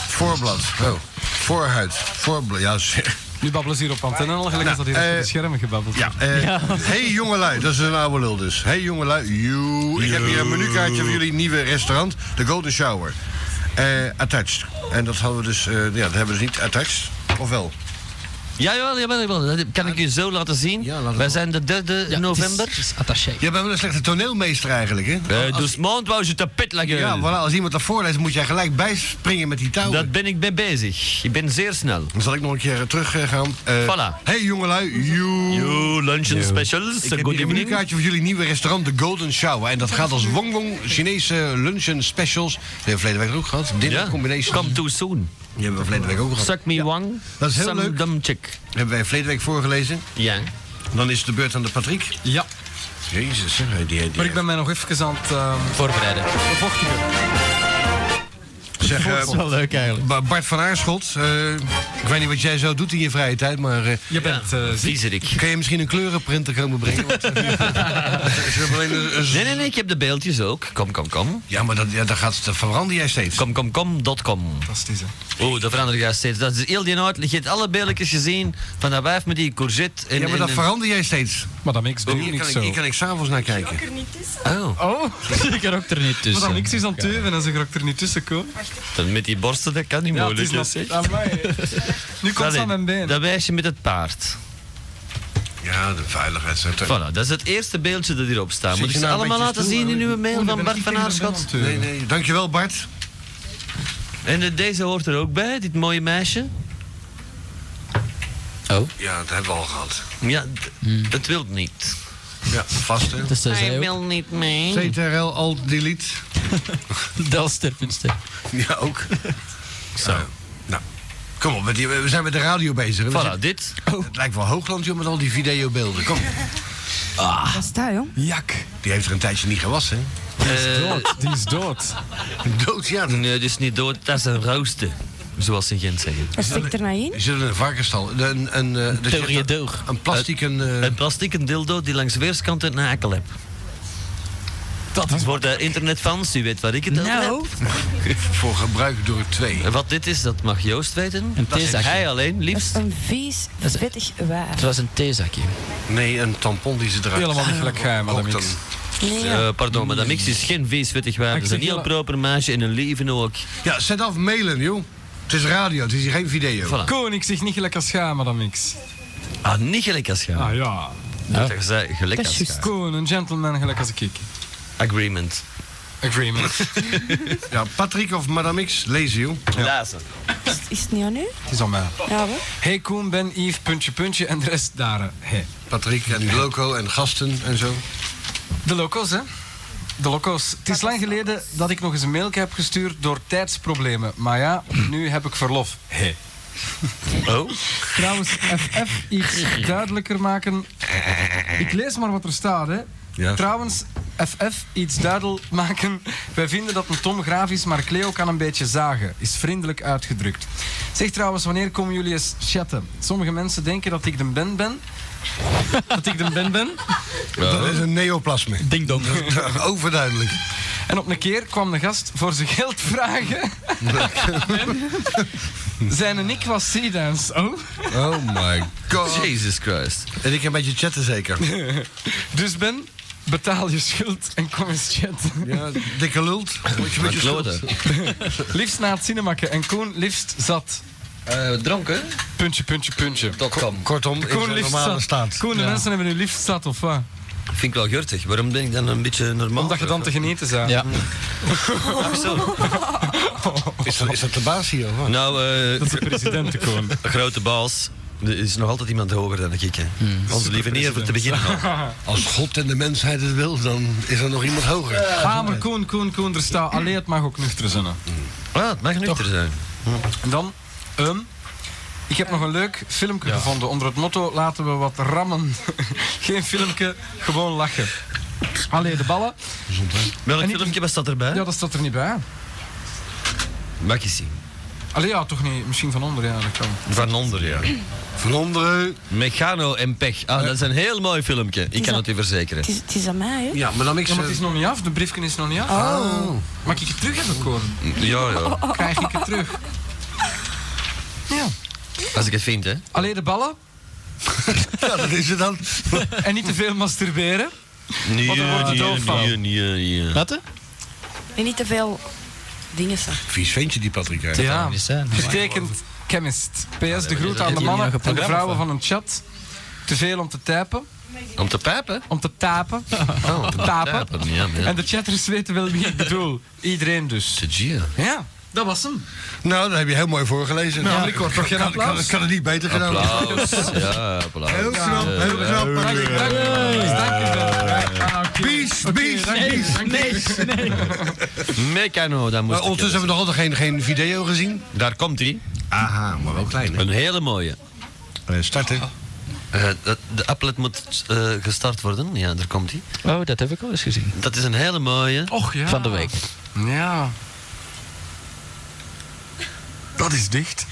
Voorblad. Oh. Voorhuid. Voorblad. Ja, zeg.
Nu babbelen ze hier op antenne al, gelijk als dat hier op
eh,
de schermen gebabbeld
Ja. eh, Hey jongelui, dat is een oude lul dus. Hey jongelui, you. Ik heb hier een menukaartje voor jullie nieuwe restaurant, de Golden Shower. Eh, attached. En dat hadden we dus, eh, ja, dat hebben we dus niet attached. Of wel?
Ja, jawel, jawel, jawel. Dat kan ik je zo laten zien.
Ja, laat het
Wij
wel.
zijn de 3e
Ja,
november.
Het is, het is attaché.
Je bent wel een slechte toneelmeester eigenlijk, hè?
Eh, dus maand wou je tapijt leggen.
Ja, voilà, als iemand dat voorleest, moet jij gelijk bijspringen met die touwen.
Dat ben ik mee bezig. Ik ben zeer snel.
Dan zal ik nog een keer eh, terug eh, gaan. Eh,
Voilà.
Hey jongelui, you.
Yo, luncheon specials.
Ik
Good
heb hier een
evening.
menukaartje voor jullie nieuwe restaurant, de Golden Shower. En dat gaat als Wong Wong Chinese luncheon specials. Die hebben we verleden week ook gehad. Dinner
Ja.
combination.
Come too soon.
Die hebben we verleden week ook gehad.
Suck me wang.
Dat is heel
Some
leuk.
dumb chick.
Hebben wij verleden week voorgelezen.
Ja.
Dan is het de beurt aan de Patrick.
Ja,
Jezus, zeg. Die, die,
maar ik ben mij nog even aan het ehm,
Voorbereiden.
vochtigen.
zeg, eh,
wel leuk eigenlijk.
Ba- Bart van Aarschot, eh, ik weet niet wat jij zo doet in je vrije tijd, maar eh,
Je bent eh, ziek.
Viezerik.
kan je misschien een kleurenprinter komen brengen? Want, eh, ze hebben alleen een- een z-
Nee, nee, nee, ik heb de beeldjes ook. Kom, kom, kom.
Ja, maar dat, ja, dat, gaat, dat verander jij steeds.
Kom, kom, kom, dot com.
Fantastisch, hè.
Oeh, dat verandert juist steeds. Dat is heel die uitleg. Je hebt alle beeldjes gezien van dat wijf met die courgette. En,
Ja, maar
en-
dat
en-
verander jij steeds.
Madame X, doe
Hier
niet
kan,
zo.
ik, hier kan ik s'avonds naar kijken.
Oh,
Oh,
Ik kan ook er niet tussen.
Madame X is aan het teuven en ze gaat er niet tussen komen.
dan met die borsten, dat kan niet
Ja, het
moeilijk.
is nat.
hè, zeg.
Amai. Nu komt ze
Allee,
aan mijn been.
Dat wijsje met het paard.
Ja, de veiligheid.
Voilà, dat is het eerste beeldje dat hierop staat.
Zit
Moet
je
ik ze
nou een
allemaal
beetje
laten
stil,
zien in
hè?
uw mail
Oh, dan
van
ben
Bart
ik
van
tegen mijn been aan
Aarschot?
het teuven.
Nee, nee. Dankjewel, Bart.
En eh, deze hoort er ook bij, dit mooie meisje.
Ja, dat hebben we al gehad.
Ja, d-
Hmm.
het wil niet.
Ja, vast, hè?
Dus dat is
Hij
hij ook.
wil niet mee.
CTRL, alt, delete.
Delster, punster.
Ja, ook. Zo. nou, kom op, met die, we zijn met de radio bezig. hè? We
Voilà,
zitten-
dit.
Het lijkt wel Hoogland, joh, met al die videobeelden. Kom,
Wat is dat, jong?
Jak,
die heeft er een tijdje niet gewassen,
Eh,
dood, die is dood.
hè? Dood, ja.
nee,
dan
dit is eh, dus niet dood, dat is een rooster. Zoals ze in Gent zeggen.
Wat steekt er nou in?
Is er een varkenstal? Een, een, eh, dat je-
Torredoor.
Een plastic, een... eh,
Een plastieke dildo die langs weerskant een hakel hebt. Dat is voor de internetfans, u weet waar ik het over
Nou.
voor gebruik door twee.
heb. Wat dit is, dat mag Joost weten.
Een
dat is
theezakje.
hij alleen, liefst.
Een vies,
is-
vettig waar.
Het was een theezakje.
Nee, een tampon die ze draagt.
Helemaal niet gelijk geheim, madame
Ook
X.
dan.
Nee, ja.
Eh, pardon, maar dat mix is geen vieswittig wijf.
Ik
Dat is een
zeg
heel
jullie-
proper meisje en een lieve ook.
Ja, zet af mailen, joh. Het is radio, het is hier geen video.
Voilà.
Koning zich niet gelijk als schaam, madame X.
Ah, niet gelijk als gaan.
Ah ja.
Dat is eh, gelijk
Dat
als
is
gaan.
Koen, een gentleman gelijk als ik. ik.
Agreement.
Agreement.
Ja, Patrick of Madame X, lezen, joh.
Lazen.
Is, is het niet aan u?
Het is al mij.
Ja, hoor.
Hey Koen, Ben, Yves, puntje, puntje en de rest daar. hè. Hey.
Patrick en Loco en gasten en zo.
De loco's, hè? De loco's. Het is lang geleden dat ik nog eens een mail heb gestuurd door tijdsproblemen. Maar ja, nu heb ik verlof. Hey.
Oh,
Trouwens, FF iets duidelijker maken. Ik lees maar wat er staat, hè.
Ja.
Trouwens, FF iets duidelijk maken. Wij vinden dat een Tom graaf is, maar Cleo kan een beetje zagen. Is vriendelijk uitgedrukt. Zeg trouwens, wanneer komen jullie eens chatten? Sommige mensen denken dat ik de Ben ben. Dat ik de Ben ben.
Dat is een neoplasme.
Ding dong.
Overduidelijk.
En op een keer kwam de gast voor zijn geld vragen. Zijn en ik was Seedance. Oh.
Oh my god.
Jesus Christ.
En ik een beetje chatten zeker.
Dus Ben, betaal je schuld en kom eens chatten.
Ja, dikke lult. Moet je met je
Kloten.
schuld.
Liefst na het cinemakken en Koen liefst zat.
Eh,
dronken?
Puntje, puntje, puntje.
Dat kan.
Kortom, in
Koen
zijn
liefst
normale
zat.
staat.
Koen, de mensen hebben nu liefst zat of wat?
Vind ik wel gurtig. Waarom ben ik dan een beetje normaal? Ah,
Omdat je dan te genieten zou.
Ja.
Ach zo.
Is dat, is dat de baas hier? of wat?
Nou, eh,
Dat is de president, Koen.
grote baas. Er is nog altijd iemand hoger dan ik. Hè. Onze lieve neer voor te beginnen. al.
Als God en de mensheid het wil, dan is er nog iemand hoger.
Ah, maar Koen, Koen, Koen, er staat. Allee, het mag ook nuchter zinnen.
Ja, Ah, het mag nuchter zijn.
En dan, ehm, ik heb nog een leuk filmpje gevonden onder het motto laten we wat rammen. Geen filmpje, gewoon lachen. Allee, de ballen.
Welk
En ik-
filmpje was dat erbij?
Ja, dat staat er niet bij.
Mag ik zien.
Allee, ja, toch niet. Misschien van onder, ja, dat kan.
Van onder, ja.
Van onderen.
Mechano en Pech. Ah, dat is een heel mooi filmpje. Ik kan
dat-
het u verzekeren.
Het is, het is aan mij, hè?
Ja, maar dan ik
Ja, maar het is nog niet af. De briefje is nog niet af.
Oh.
Mag ik het terug hebben, Koen?
Ja, ja.
Ah. Oh. Krijg ik het terug? Ja.
Als ik het vind, hè.
Allee, de ballen.
Ja, dat is het dan.
En niet te veel masturberen.
Nee,
Want dan wordt het doof van.
nee, nee, nee.
Wat? hè?
En niet te veel dingen staan.
Vies ventje die Patrick heeft.
Ja.
Niet zijn.
Getekend chemist. PS, de groet aan de
jullie nog
mannen
een
en de
programma
vrouwen van een chat. Te veel om te typen.
Om te pijpen?
Om te tapen. om te tapen.
Ja, maar ja.
En de chatters weten wel wie ik bedoel. Iedereen dus.
De Gia.
Ja, dat was hem.
Nou, dat heb je heel mooi voorgelezen.
Nou, ik hoor toch geen
Kan-
applaus?
kan- kan het niet beter gedaan.
Applaus. Ja, applaus.
Heel knap, heel knap.
Dank je,
Patrick.
dank je. Dank je wel. Ah, oké.
Bies,
Oké,
bies,
dank je,
bies.
dank je.
Mechano, daar moest
Maar
ik
ondertussen hebben we nog altijd geen, geen video gezien.
hebben. Daar komt hij.
Aha, maar wel klein. hè?
Een hele mooie.
Eh, starten.
Eh, de, de applet moet eh, gestart worden. Ja, daar komt hij.
Oh, dat heb ik al eens gezien.
Dat is een hele mooie.
Och ja.
Van de week.
Ja. Dat is dicht.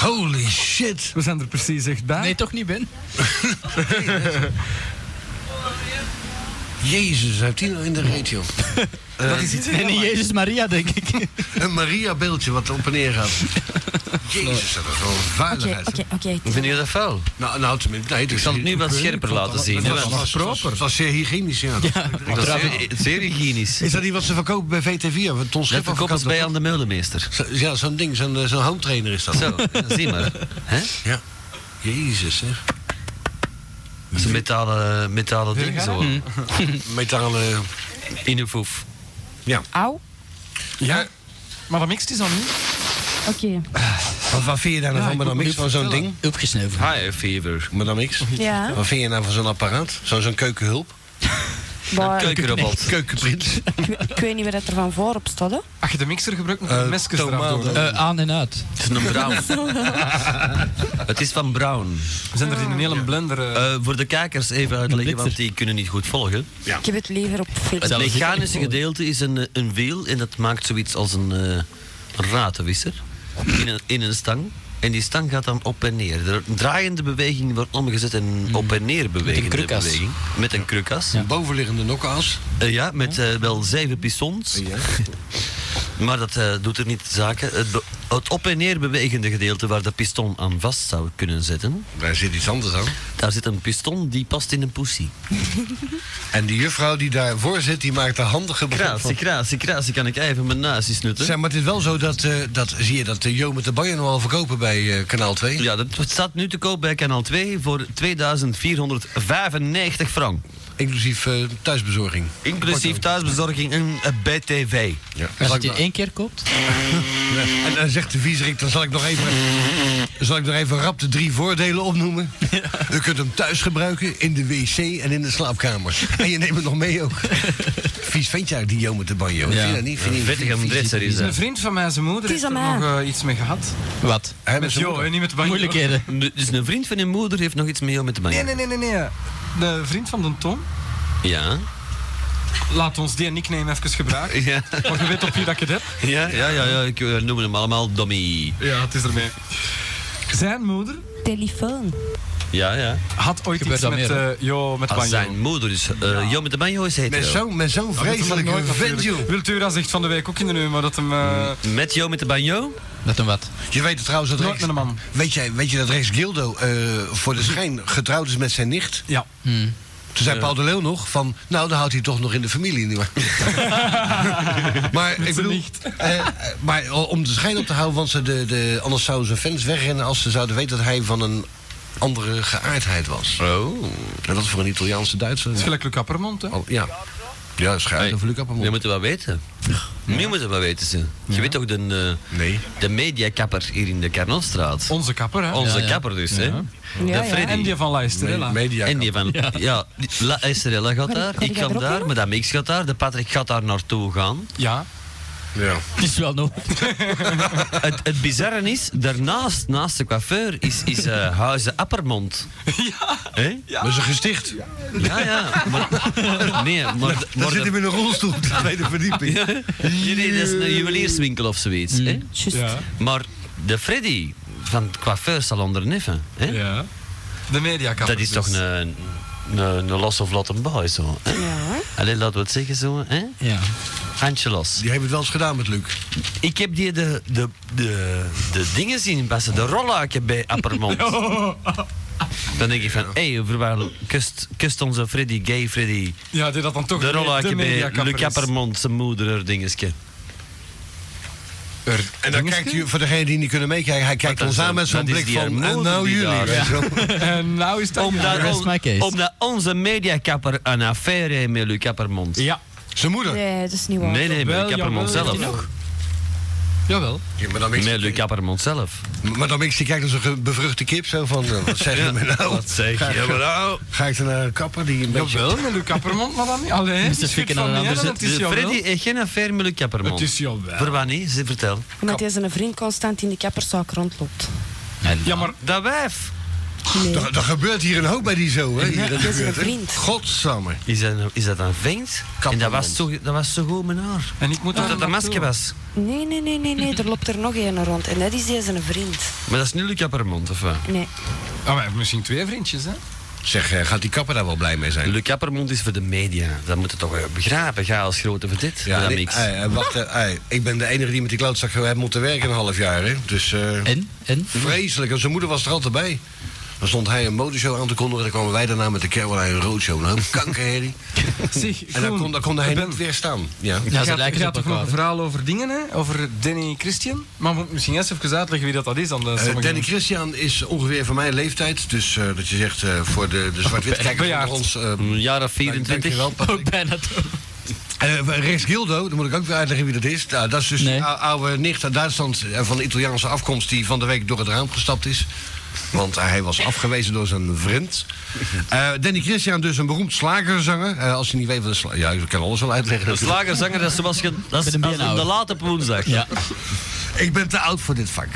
Holy shit.
We zijn er precies echt bij.
Ah. Nee, toch niet, Ben?
Jezus, heeft hij nou in de reet, joh.
dat is iets
Nee, niet Jezus Maria, denk ik.
Een Maria-beeldje wat op en neer gaat. Jezus, dat is wel een
Oké,
vuiligheid.
oké, oké.
Vind je dat vuil?
Nou, nou, tenminste, nee,
Ik zal het nu wat scherper laten zien. hè,
Dat
want
was proper. Dat was zeer hygiënisch, ja.
Dat is zeer, zeer hygiënisch.
Is dat niet wat ze verkopen bij VT4? Want Ton
Dat
Schipper
verkoopt het bij aan de meulemeester.
dat. Zo- Ja, zo'n ding, zo'n eh, zo'n home trainer is dat.
Zo, ja, zie maar. hè?
Ja. Jezus, zeg.
Dat is een metalen, metalen ding zo.
Metalen...
In de foef.
Au.
Ja,
Maar dat mixt is dan niet.
Oké.
wat, wat vind je daar nou van, Madame X, van zo'n ding?
Opgesneven.
High fever.
Madame X?
Ja.
Wat vind je nou van zo'n apparaat? Zo'n zo'n keukenhulp?
Maar ik,
Keukenrobot.
Keukenprins?
ik weet niet wat dat er van voorop stond, hè.
Als je de mixer gebruikt, moet je de
Eh,
mesjes eraf
tomaten.
doen. hè.
Eh, aan en uit.
Het is een brown. het is van brown.
We zijn er in een hele blender. eh,
Eh, voor de kijkers even uitleggen, want die kunnen niet goed volgen.
Ik heb het liever op
Het
Facebook.
mechanische gedeelte is een, eh, een wiel en dat maakt zoiets als een, eh, een ratenwisser in een, in een stang. En die stang gaat dan op en neer. De draaiende beweging wordt omgezet in Mm. een op en neer bewegende
krukas.
beweging. Met een krukas. Ja,
Een bovenliggende nokkenas.
ja met eh, wel zeven pistons. Maar dat eh, doet er niet zaken. Het, be- het op en neer bewegende gedeelte waar de piston aan vast zou kunnen zetten,
Daar zit iets anders aan.
daar zit een piston die past in een poesie.
En die juffrouw die daarvoor zit, die maakt er handige gebruik
Krasie,
van.
krasie, krasie kan ik even mijn nazi snutten.
Zeg, maar het is wel zo dat, eh, dat zie je dat de Jo met de Bayer nog al verkopen bij eh, Kanaal 2.
Ja, dat staat nu te koop bij kanaal 2 voor 2495 frank.
Inclusief eh, thuisbezorging.
Inclusief thuisbezorging en eh, BTV.
Ja. Zal
Als je
ik
die
nog-
één keer koopt,
En dan zegt de viezerik, dan zal ik nog even... Zal ik nog even rap de drie voordelen opnoemen? U kunt hem thuis gebruiken, in de wc en in de slaapkamer. En je neemt het nog mee ook. Vies ventje uit die Jo met de banjo. Vind je dat niet? Vind je-
Vettige adresser is
Een
dat.
vriend van mij, zijn moeder,
Het is
heeft er
aan
nog
mij.
eh, iets mee gehad.
wat?
Hij
Met
met
Jo,
zijn
en niet met de banjo.
Moeilijkheden.
Nu- Dus een vriend van je moeder heeft nog iets mee om met de bank.
Nee, nee, nee, nee, nee. De vriend van de Tom,
Ja.
laat ons die nickname even gebruiken.
Ja.
Want je weet op wie dat ik het heb.
Ja, ja, ja, ja, ik eh, noem hem allemaal Dommy.
Ja, het is ermee. Zijn moeder
Telefoon.
Ja, ja.
Had ooit
Gebeurt
iets
dat
met,
meer,
eh jo, met
Als Ah, zijn
banjo.
moeder is. eh Jo, met de banjo is
Met
hetero.
zo'n met zo'n vreselijke vent, joh.
Wiltura zegt van de week ook in de nummer dat hem... eh,
Met Jo met de banjo?
Met een wat?
Je weet het trouwens dat
Nooit
rechts,
met een man.
Weet, jij, weet je dat Rex Gildo eh, voor de schijn getrouwd is met zijn nicht?
Ja.
Toen zei Paul de Leeuw nog van, nou dan houdt hij toch nog in de familie. Niet maar ik
zijn
bedoel,
nicht.
eh, maar om de schijn op te houden, want ze de, de, anders zouden zijn fans wegrennen als ze zouden weten dat hij van een andere geaardheid was.
Oh.
En dat voor een Italiaanse Duitser.
Het is gelijk Luc Appermond, hè?
Oh, ja. Ja, schuil
Hey.
hey. Luc
Je
Appermond.
moet het wel weten. Nu moet het wel weten ze. Je weet toch de, eh,
Nee.
de mediakapper hier in de Carnotstraat?
Onze kapper, hè?
Onze
Ja, ja.
kapper dus, hè?
Ja,
De
ja.
En
Freddy.
die van Laisterella.
Media.
En die van. Ja, die- La Estrella gaat
Kan-
daar.
kan
Ik
jij
kan
erop
daar.
nemen?
Madame X gaat daar. De Patrick gaat daar naartoe gaan.
Ja.
Ja.
Het is wel nodig.
Het, het bizarre is, daarnaast, naast de coiffeur, is, is eh, Huizen Appermond. Ja.
Maar ze gesticht.
Ja, ja. Maar, nee, maar...
Daar
maar
zit
de-
hem in een rolstoel op de tweede verdieping.
Ja, nee, nee, dat is een juwelierswinkel of zoiets. Hè?
Just.
Ja.
Maar de Freddy van het coiffeursalon der Neffen, hè?
ja. De mediakapper.
dat is
dus.
toch een, een, een los of lot een boy, zo. hè?
Ja.
Allee, laten we het zeggen zo, hè?
Ja.
Handje los.
Die hebben het wel eens gedaan met Luc.
Ik heb die de, de, de, de dingen zien passen, de rolluiken bij Appermond. Dan denk ik van, hé, hey, voorwaar kust, kust onze Freddy, gay Freddy.
Ja, die dat dan toch
De
me-
rolluiken bij
mediakapper
Luc
is.
Appermond, zijn moeder, haar dingetje.
Er-
En dan kijkt u, voor degenen die niet kunnen meekijken, hij kijkt
dat
ons
is
aan
dan-
met zo'n
dat is
blik
die
van,
hormonen
en nou
die
jullie.
daar-
weet je wel.
En nou is dat...
Omdat,
rest
on-
my case.
omdat onze mediakapper een affaire heeft met Luc Appermond.
Ja.
Zijn moeder.
Nee, dat is niet waar.
Nee, nee, met
Wel,
Luc Appermond
jawel.
zelf.
Heeft hij nog?
Jawel.
Ja, maar dan
Met Luc
kijkt-
Appermond zelf.
maar dan Mix die kijkt als een ge- bevruchte kip zo van, eh, wat zeg je me
Oh,
nou?
Wat zeg
Ga,
je me
ga,
nou?
ga ik er naar een kapper die een beetje...
Jawel, met Luc Appermond, maar dan niet. Allee,
Moest
die
even
schiet
kijken
van
naar
niet,
een
hè,
ander
want het is
De
jawel.
Dus Freddy heeft geen affaire met Luc Appermond.
Het is jawel.
Voor waar niet? Ze vertel.
Omdat hij zijn vriend constant in de kapperszaak rondloopt.
Ja, maar
Dat wijf.
Nee.
Er, er gebeurt hier een hoop bij die zo, hè? Hier in de
dat is een
buurt, hè?
vriend.
Godsamme.
Is dat, een- is dat een vent? En dat was, zo, dat was zo goed met haar.
En ik moet
Dat
daar
dat een masker was.
Nee, nee, nee, nee, nee, er loopt er nog een rond. En dat is deze zijn vriend.
Maar dat is niet Luc Appermond, of wat?
Nee.
Oh, maar misschien twee vriendjes, hè?
Zeg, eh, gaat die kapper daar wel blij mee zijn?
Luc Appermond is voor de media. Dat moet je toch eh, begrijpen. Ga als grote voor dit. Ja,
nee,
Ah,
niks.
ei, eh, wacht, eh, ei, ik ben de enige die met die klootzak eh, heeft moeten werken een half jaar, hè? Dus... eh,
En? En?
Vreselijk, en zijn moeder was er altijd bij. Dan stond hij een modeshow aan te kondigen. Dan kwamen wij daarna met de Caroline Roadshow. Nou, kankerherrie.
Zeg,
En dan
Koen,
kon, dan kon hij
ik ben-
niet weer staan. Ja. Eh,
Ja, ze
gaat,
lijken
gaat
ze
toch nog
op elkaar.
een verhaal over dingen, hè? Over Danny Christian. Maar moet misschien eerst even uitleggen wie dat, dat is. Dan de
Eh,
sommige
Danny
mensen.
Christian is ongeveer van mijn leeftijd. Dus eh, dat je zegt eh, voor de, de zwart-wit kijkers
Bejaard. Mm.
onder ons... eh,
Een jaar of
dank-
24.
dankjewel, Patrick.
Ook bijna toch.
Eh, Rex Gildo, dan moet ik ook weer uitleggen wie dat is. Nou, dat is dus
Nee.
die ou- oude nicht uit Duitsland eh, van Italiaanse afkomst... die van de week door het raam gestapt is. Want hij was afgewezen door zijn vriend. Eh, Danny Christian, dus een beroemd slagerzanger. Eh, als je niet weet wat een sla- Ja, ik kan alles wel uitleggen.
Een slagerzanger, dat is zoals je, dat is
Met een
als op de
beenhouwer.
late op woensdag.
Ja.
Ik ben te oud voor dit vak.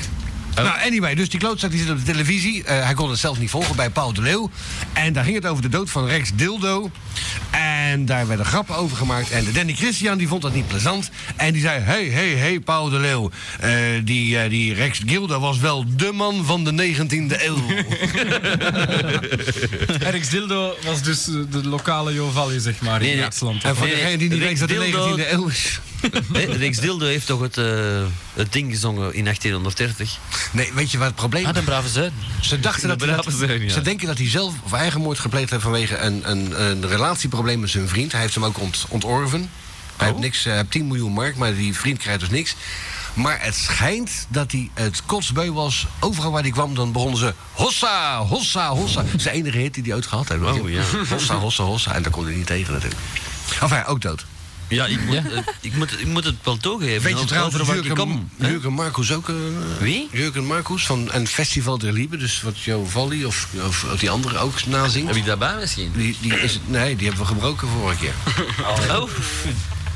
Nou, anyway, dus die klootzak die zit op de televisie. Eh, hij kon het zelf niet volgen bij Paul de Leeuw. En daar ging het over de dood van Rex Dildo. En daar werden grappen over gemaakt. En de Danny Christian die vond dat niet plezant. En die zei, hey, hey, hey, Paul de Leeuw. eh, die, eh, die Rex Dildo was wel de man van de 19e eeuw.
Rex Dildo was dus eh, de lokale Jovalli, zeg maar,
Nee,
in
nee.
Duitsland.
en voor
Nee,
degene die niet
Rex
weet dat de
Dildo-
19e eeuw is...
Hè, Rex Dildo heeft toch het, eh, het ding gezongen in 1830?
Nee, weet je wat het probleem
Had
is?
een Ah, brave zuin.
Ze dachten dat, hij
Inderdaad,
dat-
dat zei hij, ja.
ze denken dat hij zelf of eigenmoord gepleegd heeft vanwege een, een, een relatieprobleem met zijn vriend. Hij heeft hem ook ont, ontorven.
Oh.
Hij heeft, niks, eh, hij heeft 10 miljoen mark, maar die vriend krijgt dus niks. Maar het schijnt dat hij het kotsbeu was. Overal waar hij kwam, dan begonnen ze... Hossa, hossa, hossa. Dat is de enige hit die hij ooit gehad heeft. weet je.
Oh, ja.
Hossa, hossa, hossa. En daar kon hij niet tegen natuurlijk. Enfin, ook dood.
Ja, ik moet, eh, ik moet, ik moet het wel toegeven.
Weet je
over-
trouwens dat
over waar ik
Jurgen,
kom.
Jurgen Marcus ook... eh,
Wie?
Jurgen Marcus van een Festival der Liebe. Dus wat Jo Valli of, of die andere ook nazingt.
Heb je daarbij misschien?
Die, die is, nee, die hebben we gebroken vorige keer.
Oh,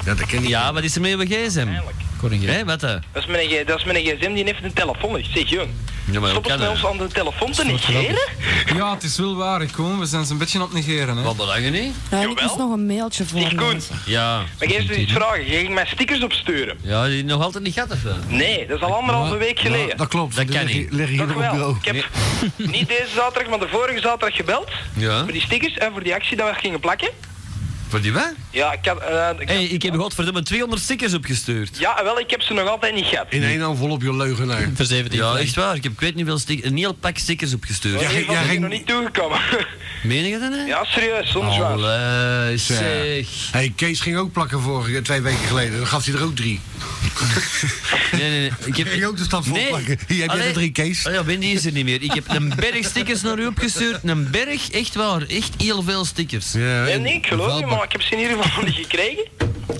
Ja, dat ken ik.
Ja, wat is er mee met gsm?
Koningin.
Hé, wat eh? dan?
Dat is mijn, G- dat is mijn gsm, die heeft een telefoon. Ik zeg, jong,
Ja, maar hoe
stop
kan
het met
dat?
ons aan de telefoon te
Soort grappig.
negeren?
Ja, het is wel waar, ik kom. We zijn ze een beetje aan het negeren. Hè.
Wat belangen niet?
Nou, en ik
Jawel.
moest nog een mailtje
Zeg,
voor
Koen,
Ja.
mag ik eerst eens iets vragen? Ga ik mij stickers opsturen?
Ja, die nog altijd niet gaat of wel?
Nee, dat is al anderhalve week
Ja,
geleden.
dat klopt.
Dat
Die
kan
leg-
niet.
Leg je hier
Toch
op het
wel.
bureau.
Ik heb niet deze zaterdag, maar de vorige zaterdag gebeld.
Ja.
Voor die stickers en voor die actie dat we gingen plakken.
Voor die wat?
Ja, ik had... eh, ik
Hé,
had-
ik heb godverdomme 200 stickers opgestuurd.
Ja, wel, ik heb ze nog altijd niet gehad.
In één envelop, je leugenaar.
Voor 17
Ja,
frank.
echt waar. Ik heb ik weet niet veel stickers, een heel pak stickers opgestuurd.
Ja,
ging-
ik
jij
ben
ging-
nog niet toegekomen.
Meen je dat, hè?
ja, serieus, zonder
Nou,
Oh,
zwaar.
Allee, zeg.
Hey, Kees ging ook plakken vorige twee weken geleden. Dan gaf hij er ook drie.
Nee, nee, nee. Ik heb...
Ging ook de stad vol plakken. Hier heb jij
Allee.
er drie, Kees.
Oh ja, Wendy is er niet meer. Ik heb een berg stickers naar u opgestuurd. Een berg, echt waar. Echt heel veel stickers.
Ja,
Nee,
en-
nee, ik geloof je, maar ik heb ze in ieder geval niet gekregen.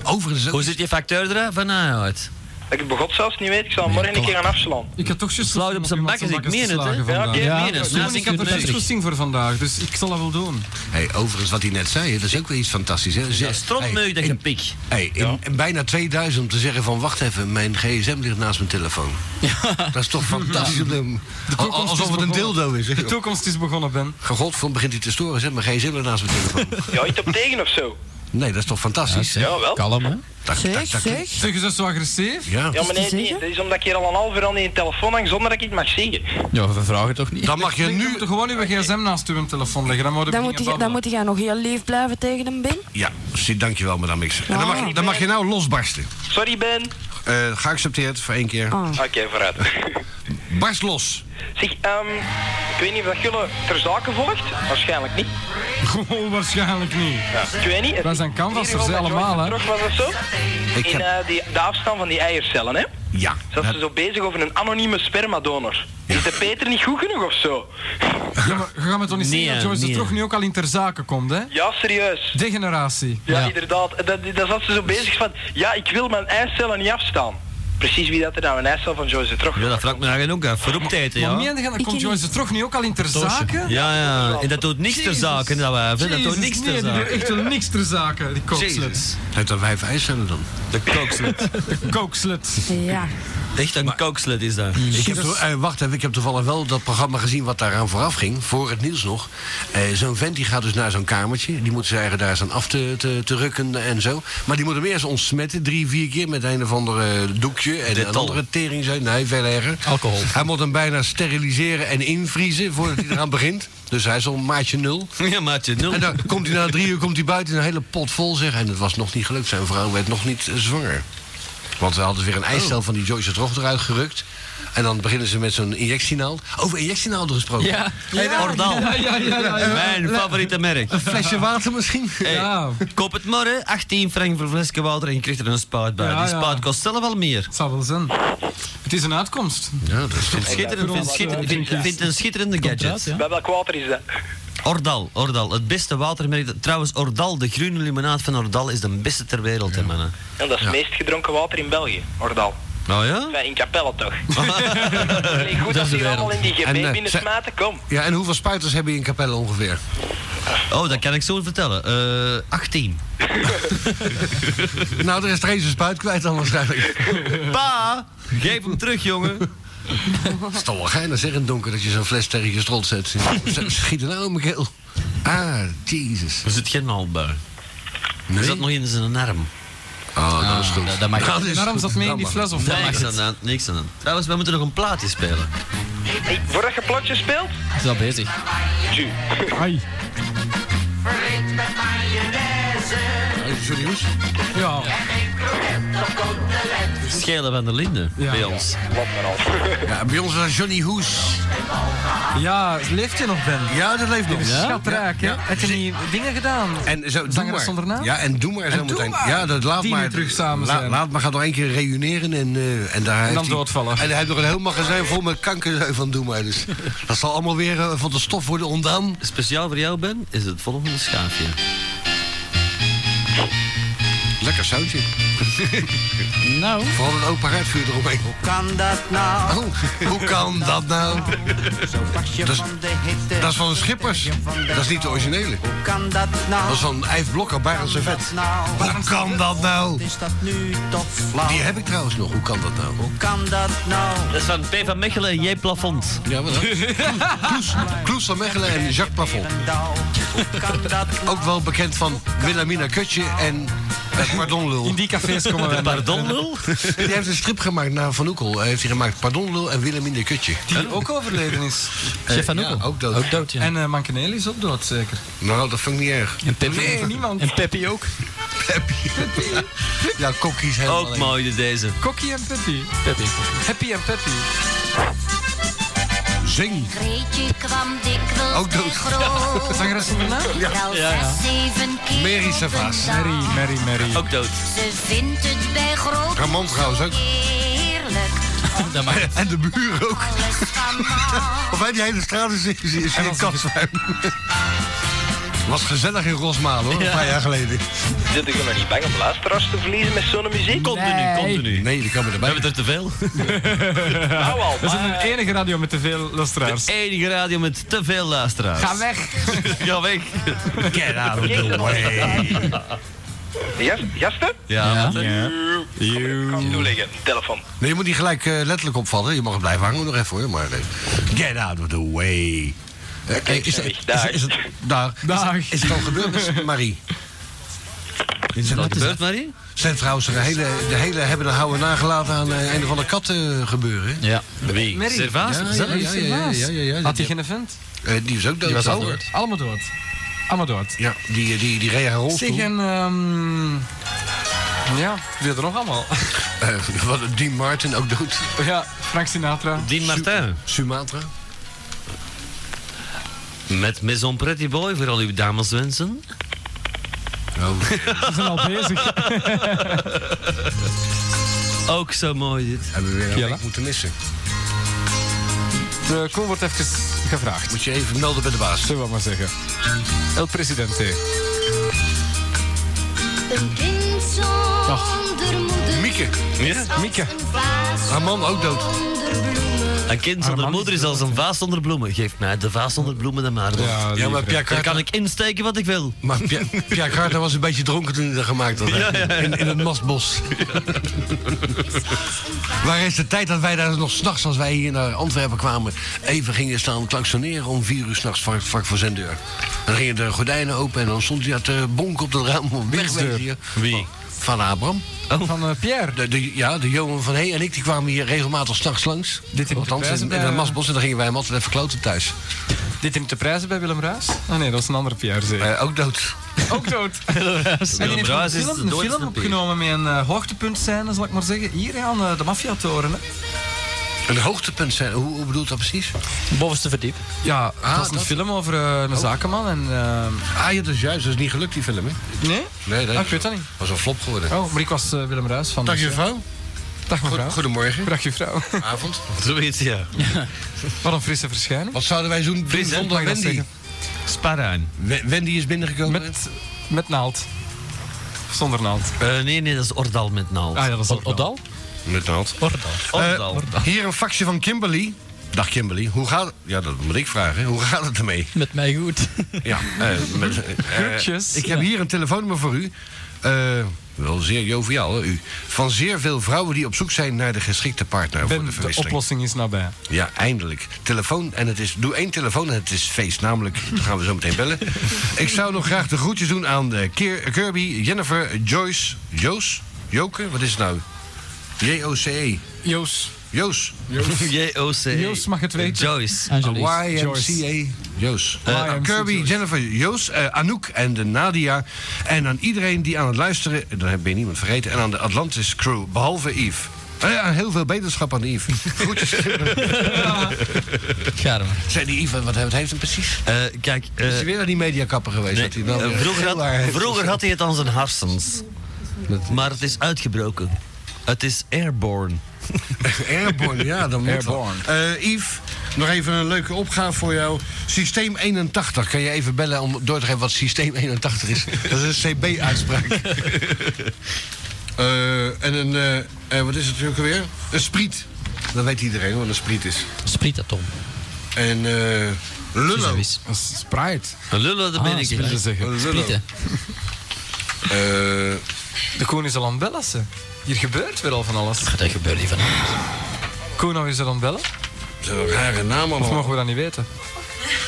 Overigens,
Hoe zit die facteur er van uit?
Dat ik begot zelfs niet weet, ik zal morgen een keer gaan afslaan.
Ik had toch juist
Slaat op
om
zijn
iemand
bakken, ik
bakkes te
meen het,
slagen
hè.
vandaag.
Ja, oké,
Ja,
meen het.
dat is
Nou,
Koen, ik
ik
had er
het
juist
rustig.
goesting voor vandaag, dus ik zal dat wel doen.
hey, overigens wat hij net zei, hè, dat is ook weer iets fantastisch. Hè? Ze-
Ja, strontmeuk dat
hey,
je
in,
pik.
hey, in, in bijna 2000 om te zeggen van wacht even, mijn gsm ligt naast mijn telefoon. Dat is toch fantastisch. om te- Al-
toekomst
alsof
is
het een
begonnen.
dildo is. hè,
De
joh.
toekomst is begonnen, Ben.
God, van begint hij te storen, zet mijn gsm ligt naast mijn telefoon.
Ja, iets op tegen of zo.
Nee, dat is toch fantastisch.
Ja, wel.
Kalm, hè?
Tak, tak,
Zeg,
tak.
zeg.
Zeg, is dat zo agressief?
Ja.
Ja, maar nee,
Is die
nee,
zeker?
dat is omdat ik hier al een half uur aan die telefoon hang zonder dat ik het mag zeggen.
Ja, we vragen toch niet.
Dan mag je
Denk, dan
nu...
moet je gewoon uw gsm naast uw telefoon leggen. Dan moet je
Dan
beginnen
moet, je, dan
babbelen.
moet jij nog heel lief blijven tegen hem, Ben.
Ja, zie, dankjewel, madame Mixer. En dan mag, je- dan mag je nou losbarsten.
Sorry, Ben.
Eh geaccepteerd voor één keer.
Ah.
Oké, vooruit.
Barst los.
zeg, ehm, ik weet niet of dat jullie ter zake volgt. Waarschijnlijk niet.
Gewoon waarschijnlijk niet.
Ja, ik weet niet.
Wij zijn canvassers,
Hier gewoon bij
allemaal, hè.
Joyce van Trog was dat zo?
Ik
In
heb-
eh, die, de afstand van die eiercellen, hè?
Ja.
Zat ze zo bezig over een anonieme spermadonor. Is de Peter niet goed genoeg of zo?
Ja, maar ga me toch niet
Nee,
zeggen dat Joyce
nee.
er toch nu ook al in ter zake komt, hè?
Ja, serieus.
De generatie.
Ja, inderdaad. En Dat, dat zat ze zo bezig van, ja, ik wil mijn eicellen niet afstaan. Precies wie dat er nou een eicel van Joyce de Trog
Ja, dat vraagt me nou eigenlijk ook af. Voor op tijd,
Maar
ja.
meen je, dan
Ik
komt
niet.
Joyce er toch nu ook al in ter zake?
Ja, ja. En dat doet niks ter
Jezus.
zake, dat wijf. hè. Dat doet
Jezus,
niks
nee,
ter
die doet
zake.
echt wel niks ter zake, die
Jezus.
kookslet.
Heeft dat wijf ijscellen dan?
De kookslet.
Kookslet.
Ja.
Echt een kookslet is dat.
Ik heb, to- eh, wacht even, ik heb toevallig wel dat programma gezien wat daaraan vooraf ging. Voor het nieuws nog. Eh, zo'n vent die gaat dus naar zo'n kamertje. Die moet zijn eigen daar staan af te, te, te rukken en zo. Maar die moet hem eerst ontsmetten. Drie, vier keer met een of ander eh, doekje. En een
Dettol.
andere tering zijn. Nee, veel erger.
Alcohol.
Hij moet hem bijna steriliseren en invriezen voordat hij eraan begint. Dus hij is al maatje nul.
Ja, maatje, nul.
En dan komt hij na drie uur komt hij buiten een hele pot vol zeg. En het was nog niet gelukt. Zijn vrouw werd nog niet eh, zwanger. Want ze hadden weer een ijsstel van die Joyce Trog eruit gerukt. En dan beginnen ze met zo'n injectienaald. Over injectienaalden gesproken.
Ja.
Ordal.
Ja, ja, ja. ja.
Mijn favoriete merk.
Een flesje water misschien?
Hey,
Ja.
Koop het maar, hè. 18 frank voor een flesje water en je krijgt er een spuit bij.
Ja,
Die
ja.
spuit kost zelf al meer.
Het zou wel zijn. Het is een uitkomst.
Ja, dat is toch...
Schitterend, vind, schitter, vind, vind een schitterende gadget.
ja.
Bij welk water is dat?
Ordal, Ordal, het beste watermerk. dat- Trouwens, Ordal, de groene limonade van Ordal is de beste ter wereld, hè, mannen.
Ja, dat is het meest gedronken water in België, Ordal.
Nou ja?
Enfin, in Capelle toch? Nee, goed dat ze hier allemaal in die GB
En, eh,
binnen
ze-
smaten, kom.
Ja, en hoeveel spuiters hebben je in Capelle ongeveer?
Oh, dat kan ik zo vertellen. Eh 18.
Nou, er is er eens een spuit kwijt dan waarschijnlijk.
Pa, geef hem terug, jongen.
Het is toch wel geinig zeg in het donker dat je zo'n fles tegen je strot zet. Ze- Schiet er nou in mijn keel. Ah, Jesus.
Er zit geen naald bij. Er
Nee?
zat nog in zijn arm.
Oh, dat is goed.
dat- dat mag niet.
Dus
is
Daarom zat
goed.
mee in
Dat
die
mag.
fles of wat?
niks aan de hand, niks aan de hand. Trouwens, we moeten nog een plaatje spelen.
Hey, voordat je plotjes speelt,
Is al bezig.
tju.
Sorry, Hoes.
Ja.
Schelen van de Linden
Ja.
bij ons.
Ja, bij ons was Johnny Hoes.
Ja, leeft je nog, Ben?
Ja, dat leeft nog.
Ja? Schatraak, hè?
Ja.
Heb je niet dingen gedaan?
En zo, doe
Zangeres
maar.
zonder naam?
Ja, en doe maar zo
doe
meteen.
maar.
Ja, dat laat
Die
maar.
nu terug samen
La-
zijn.
Laat maar, gaat nog één keer reuneren en, eh, en daar heeft
dan
hij-
doodvallen.
En hij heeft nog een heel magazijn vol met kanker van doe maar. Dus dat zal allemaal weer eh, van de stof worden ontdaan.
Speciaal voor jou, Ben, is het volgende schaafje.
Lekker zoutje.
Nou.
Vooral het open haardvuur eromheen. Hoe
kan dat nou?
hoe kan dat nou?
Pasje
Dat is,
van de hitte.
dat is van de Schippers. Dat is niet de originele.
Kan dat nou?
Dat is van Yves Blokker, Barend Servet.
Nou,
Hoe kan dat nou?
is dat nu toch flauw?
Die heb ik trouwens nog. Hoe kan dat nou?
Kan dat nou?
Dat is van P. van Mechelen en J. Plafond.
Ja, wat dan? Kloes, Kloes van Mechelen en Jacques Plafond.
Nou, hoe kan dat nou?
Ook wel bekend van Wilhelmina Kutje en eh, Pardonlul.
In die cafés komen we.
Pardon, lul?
Die heeft een strip gemaakt naar Van Oekel. Hij heeft hij gemaakt Pardonlul en Wilhelmina Kutje.
Die ook overleden is.
Chef van
ja,
Oekel.
ook dood.
Ook dood, ja.
En eh Mankeneel is ook dood, zeker.
Nou, dat vind ik niet erg.
En Peppy.
Nee, niemand.
En Peppy ook.
Ja, Kokkie is helemaal
Ook
alleen.
mooi dus deze.
Kokkie en Peppy.
Peppy.
Happy en Peppy.
Zing.
Greetje kwam dikwijls
Ook dood.
bij groot.
Zangeres van de naam?
Wel zes, zeven keer
Mary
op een
Servaas.
dag.
Mary, Mary, Mary.
Ook dood.
Ze vindt het bij groot
Ramon trouwens ook.
heerlijk.
Dat mag.
En de buren ook.
Alles van maal.
Of wij die hele straat is, is, is in Katswijn. Was gezellig in Rosmalen hoor, een paar jaar geleden.
Zit ik er nog niet bang om luisteraars te verliezen met zo'n muziek?
Continu, continu.
Nee, die komen
We
erbij.
hebben er te veel.
Nou al,
Dat is de enige radio met te veel luisteraars.
De enige radio met te veel luisteraars.
Ga weg.
Ga weg. Get out of the
maar- eh, Jas- Jasten?
Ja, wat een-
Kom, Kan toeleggen, telefoon.
Nee, je moet niet gelijk eh, letterlijk opvallen. Je mag het blijven hangen nog even hoor. Maar, nee. Get out of the way. Eh, eh, is,
sorry.
is- is-
Dag.
is het, daar.
Dag.
Is, is het al gebeurd, met Marie?
Is het al gebeurd, Marie?
Ze heeft trouwens de hele, de hele hebben en houden nagelaten aan eh, een of andere kat eh, gebeuren. hè?
Ja.
Wie? Servaas?
ja, ja, ja, ja, ja, ja.
Had hij geen vent?
Eh, die is ook dood.
Die was al
Oh.
dood.
Allemaal dood. Allemaal dood.
Ja, die, die, die reed haar rolstoel.
Zeg en... ehm, ja, wie had er nog allemaal?
Eh, wat een Dean Martin ook dood.
ja, Frank Sinatra.
Dean Martin.
Sumatra.
Met Maison Pretty Boy voor al uw dameswensen.
Oh,
Ze zijn al bezig.
Ook zo mooi dit.
Hebben we weer een
Ja.
week moeten missen.
De Koen wordt even gevraagd.
Moet je even melden bij de baas.
Zullen we maar zeggen. El Presidente.
Een kind zonder moeder.
Mieke,
Ja?
Als
Mieke.
een vaas
haar man ook dood.
zonder bloemen.
Een kind zonder moeder is als een vaas zonder bloemen. Geef mij de vaas zonder bloemen dan maar.
Ja,
Ja, maar Pierre
Daar
Carter,
kan ik insteken wat ik wil.
maar Pierre, Pierre Carter was een beetje dronken toen hij dat gemaakt had. hè? In, in het mastbos. Waar is de tijd dat wij daar nog s'nachts, als wij hier naar Antwerpen kwamen... even gingen staan klaksoneren om vier uur s'nachts vlak, vlak voor zijn deur. Dan gingen de gordijnen open en dan stond hij uit de bonk op de raam. om Weg, weg hier.
Wie?
Van Abram.
Van eh, Pierre.
De, de- ja, de Johan van Hey en ik die kwamen hier regelmatig s'nachts langs.
Dit in
Althans,
de
in,
prijzen
in het
bij-
mastbos. En dan gingen wij hem altijd even kloten thuis.
Dit in te prijzen bij Willem Ruijs? Ah nee, dat is een andere Pierre zeker.
Eh, ook dood.
Ook dood. En die
Willem
heeft een
Bruijs is
film,
de
een
doodste
film
Pier.
opgenomen met een eh, hoogtepuntscène, zal ik maar zeggen. Hier aan eh, de maffiatoren. hè.
Een hoogtepunt zijn. Hoe, hoe bedoelt dat precies?
Bovenste verdiep.
Ja,
Ah,
het was een
dat-
film over eh, een zakenman en... eh,
Ah ja, dat is juist. Dat is niet gelukt, die film, hè?
nee?
Nee, dat
Ah, ik weet dat niet.
was een flop geworden.
Oh, maar ik was eh, Willem Ruijs van...
Dag,
dus, eh,
juffrouw.
Dag mevrouw.
Goed, goedemorgen.
Dag juffrouw.
Avond.
Zoiets, ja.
Wat een frisse verschijning.
Wat zouden wij doen
Fris, hè?
zonder
Mag ik dat
Wendy?
Sparaan.
We- Wendy is binnengekomen.
Met, met naald. Zonder naald.
Eh, nee, nee, dat is Ordal met naald.
Ah ja, dat is ook wel.
Odal?
Met naald.
Ordal.
Ordal.
Eh, hier een faxje van Kimberly. Dag Kimberly, hoe gaat het? Ja, dat moet ik vragen. Hoe gaat het ermee?
Met mij goed.
Ja, eh, met, eh,
Groetjes.
Ik heb hier een telefoonnummer voor u. Eh, wel zeer joviaal, hè, u. Van zeer veel vrouwen die op zoek zijn naar de geschikte partner voor
Ben,
de
de
verwisseling.
oplossing is nabij.
ja, eindelijk. Telefoon en het is... Doe één telefoon en het is feest. Namelijk, dan gaan we zo meteen bellen. Ik zou nog graag de groetjes doen aan eh, Keer- Kirby, Jennifer, Joyce, Joos, Joke. Wat is het nou? J-O-C-E.
Joos.
E. Joos.
J-O-C.
Joost mag het weten.
Joyce.
Angelique.
YMCA. Joos.
YMCA.
Eh, Kirby,
Joyce.
Jennifer, Joos, eh, Anouk en de Nadia. En aan iedereen die aan het luisteren... Dan heb je niemand vergeten. En aan de Atlantis crew, behalve Yves. Eh, ja, heel veel beterschap aan Yves. Groetjes.
Ga er maar.
Zijn die Yves, wat heeft hij precies?
Eh, kijk, eh,
is hij weer naar die mediakapper geweest?
nee,
Dus dat hij dan
eh,
weer
vroeger,
geel haar
had,
heeft?
vroeger had hij het aan zijn harsens. Maar het is uitgebroken. Het is airborne.
Airborne, ja, dan moet
Airborne.
dat. Eh, Yves, nog even een leuke opgave voor jou. Systeem 81, kan je even bellen om door te geven wat Systeem 81 is? dat is een CB-uitspraak. Eh, en een, eh, eh, wat is het natuurlijk alweer? Een spriet. Dat weet iedereen wat een spriet is.
Sprietatom.
En eh lullo.
Een Sprite.
Een lullen, dat ben ik.
willen Ah, ze zeggen.
Een lullo.
Sprieten.
Eh,
De koen is al aan het bellen, ze. Hier gebeurt weer al van alles.
Dat gebeurt niet van.
Koen, nou is er aan het bellen?
Zo'n rare naam
Of
allemaal.
mogen we dat niet weten?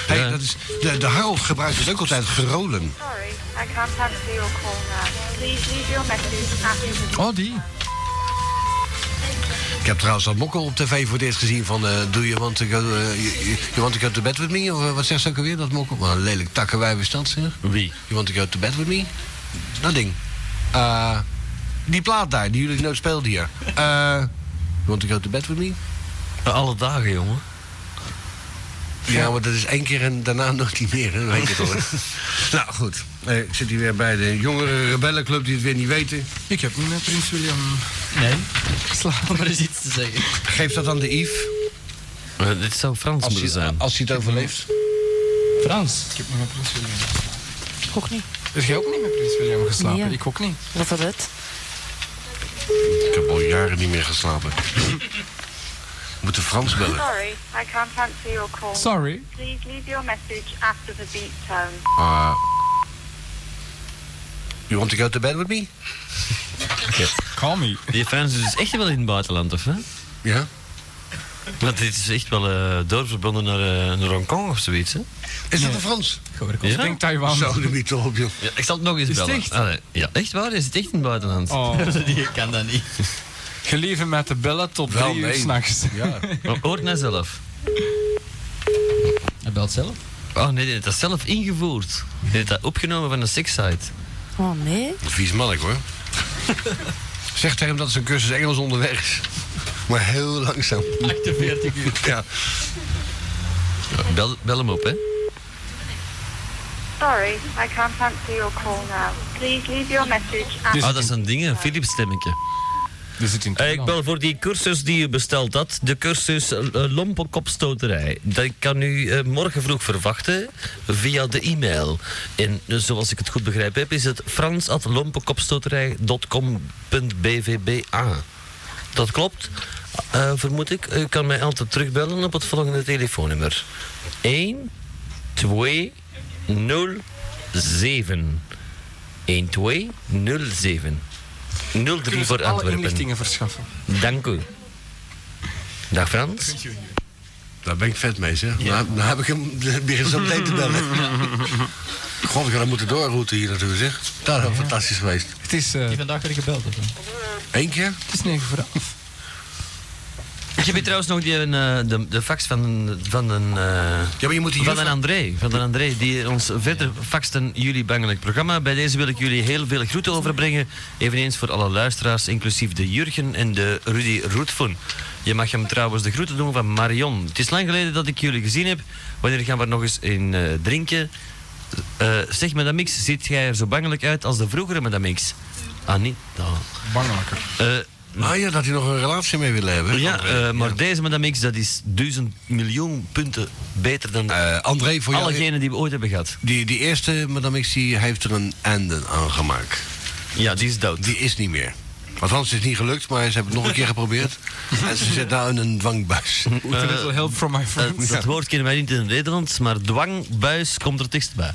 Hey, dat is, de, de Harold gebruikt het ook altijd gerolen.
Sorry, I can't answer your call now. Please leave your message after the
Oh, die.
Ik heb trouwens al Mokkel op tv voor het eerst gezien van... eh do you want, to go, eh, you, you- you want to go to bed with me? Of eh, wat zegt ze ook alweer, dat Mokkel? Wat een lelijk takkenwijverstand, zeg.
Wie?
You want to go to bed with me? Dat ding. Eh, die plaat daar, die jullie nooit speelden hier. Eh, you want to go to bed with me?
Alle dagen, jongen.
Ja, maar dat is één keer en daarna nog niet meer. Hè? Dat weet je toch, hè? nou, goed. Eh, ik zit hier weer bij de jongere rebellenclub die het weer niet weten.
Ik heb niet met Prins William
Nee,
geslapen.
om er eens iets te zeggen.
Geef dat aan de Yves,
Eh, dit zou Frans
als Ah.
moeten
hij,
zijn.
als hij het overleeft.
Frans.
Ik heb niet met Prins William
Ook niet.
Heb jij ook niet met Prins William geslapen?
Nee, ja.
Ik ook niet.
Wat dat het?
Ik heb al jaren niet meer geslapen. We moeten Frans bellen.
Sorry, I can't answer your call.
Sorry.
Please leave your message after the beep tone.
Uh, you want to go to bed with me?
Call me.
Die Frans is dus echt wel in het buitenland, of hè?
Ja.
Want dit is echt wel eh doorverbonden naar, eh, naar Hongkong of zoiets, hè?
Is dat een Frans?
Ja?
Ik denk Taiwan.
Zo, de mythe op, joh.
Ja, ik zal het nog eens
Is het
bellen.
echt?
Allee, ja, echt waar? Is het echt in het buitenland?
Oh.
Die kan dat niet.
Gelieven met de bellen tot
Wel,
drie uur
nee.
s'nachts.
Ja.
Maar Hoort naar zelf.
Hij belt zelf.
Oh nee, die heeft dat zelf ingevoerd. Die heeft dat opgenomen van een sekssite.
Oh nee.
Een vies mannelijk, hoor. Zeg tegen hem dat zijn cursus Engels onderweg is. Maar heel langzaam.
48 uur.
Ja.
Ja, Bel, bel hem op, hè.
Sorry, I can't answer your call now. Please leave your message after
Ah, dat is een ding, een Philips stemmetje.
Er zit in
Eh, ik bel voor die cursus die u besteld had. De cursus eh, lompenkopstoterij. Dat kan u eh, morgen vroeg verwachten via de e-mail. En eh, zoals ik het goed begrijp heb, is het frans.lompenkopstoterij.com.bvba. Dat klopt, eh, vermoed ik. U kan mij altijd terugbellen op het volgende telefoonnummer. 1 2 0 7 1 2 0 7 03
Kunnen
voor
ze alle
Antwerpen.
inlichtingen verschaffen.
Dank u. Dag Frans.
Daar ben ik vet mee, zeg. Nou, nou heb ik hem weer zo meteen te bellen. God, ik had hem moeten doorrouten hier naartoe, zeg. Dat is fantastisch geweest.
Het is, eh,
Die vandaag weer gebeld heeft. hè.
Eén keer?
het is negen voor elf.
Ik heb hier trouwens nog die, eh, de, de fax van, van een... eh,
Ja, maar je moet hier...
van een André, van een André, die ons verder faxten jullie bangelijk programma. Bij deze wil ik jullie heel veel groeten overbrengen. Eveneens voor alle luisteraars, inclusief de Jurgen en de Rudy Roetvoen. Je mag hem trouwens de groeten doen van Marion. Het is lang geleden dat ik jullie gezien heb. Wanneer gaan we er nog eens in eh, drinken? Eh, zeg, Madame Mix, ziet jij er zo bangelijk uit als de vroegere Madame Mix? Ah, niet? Oh.
Bangelijker.
Eh,
Ah ja, dat hij nog een relatie mee wil hebben.
ja,
André.
eh, maar deze Madame X, dat is duizend miljoen punten beter dan
Eh, André, voor jou...
allegenen die we ooit hebben gehad.
Die, die eerste Madame X die heeft er een einde aan gemaakt.
Ja, die is dood.
Die is niet meer. Althans, het is niet gelukt, maar ze hebben het nog een keer geprobeerd. En ze zit nou in een dwangbuis.
With a little help from my
Eh, dat,
friends.
dat woord kennen wij niet in het Nederlands, maar dwangbuis komt er tekst bij.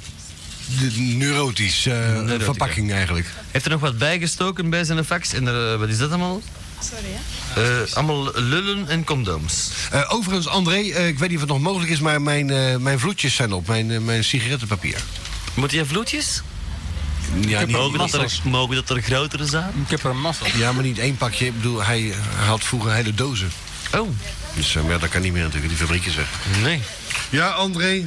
De neurotisch, eh,
Neurotica.
verpakking eigenlijk.
Heeft er nog wat bijgestoken bij zijn fax? En er, eh, wat is dat allemaal? Sorry, hè? allemaal lullen en condooms.
Eh, overigens, André, eh, ik weet niet of het nog mogelijk is, maar mijn, eh, mijn vloedjes zijn op. Mijn, eh, mijn sigarettenpapier.
Moet je vloedjes?
Ja,
mogen, dat
niet,
er, mogen dat er grotere zijn?
Ik heb er een massa.
ja, maar niet één pakje. Ik bedoel, hij, hij had vroeger hele dozen.
Oh,
Dus eh, maar ja, dat kan niet meer natuurlijk, die fabriek is weg.
nee.
Ja, André.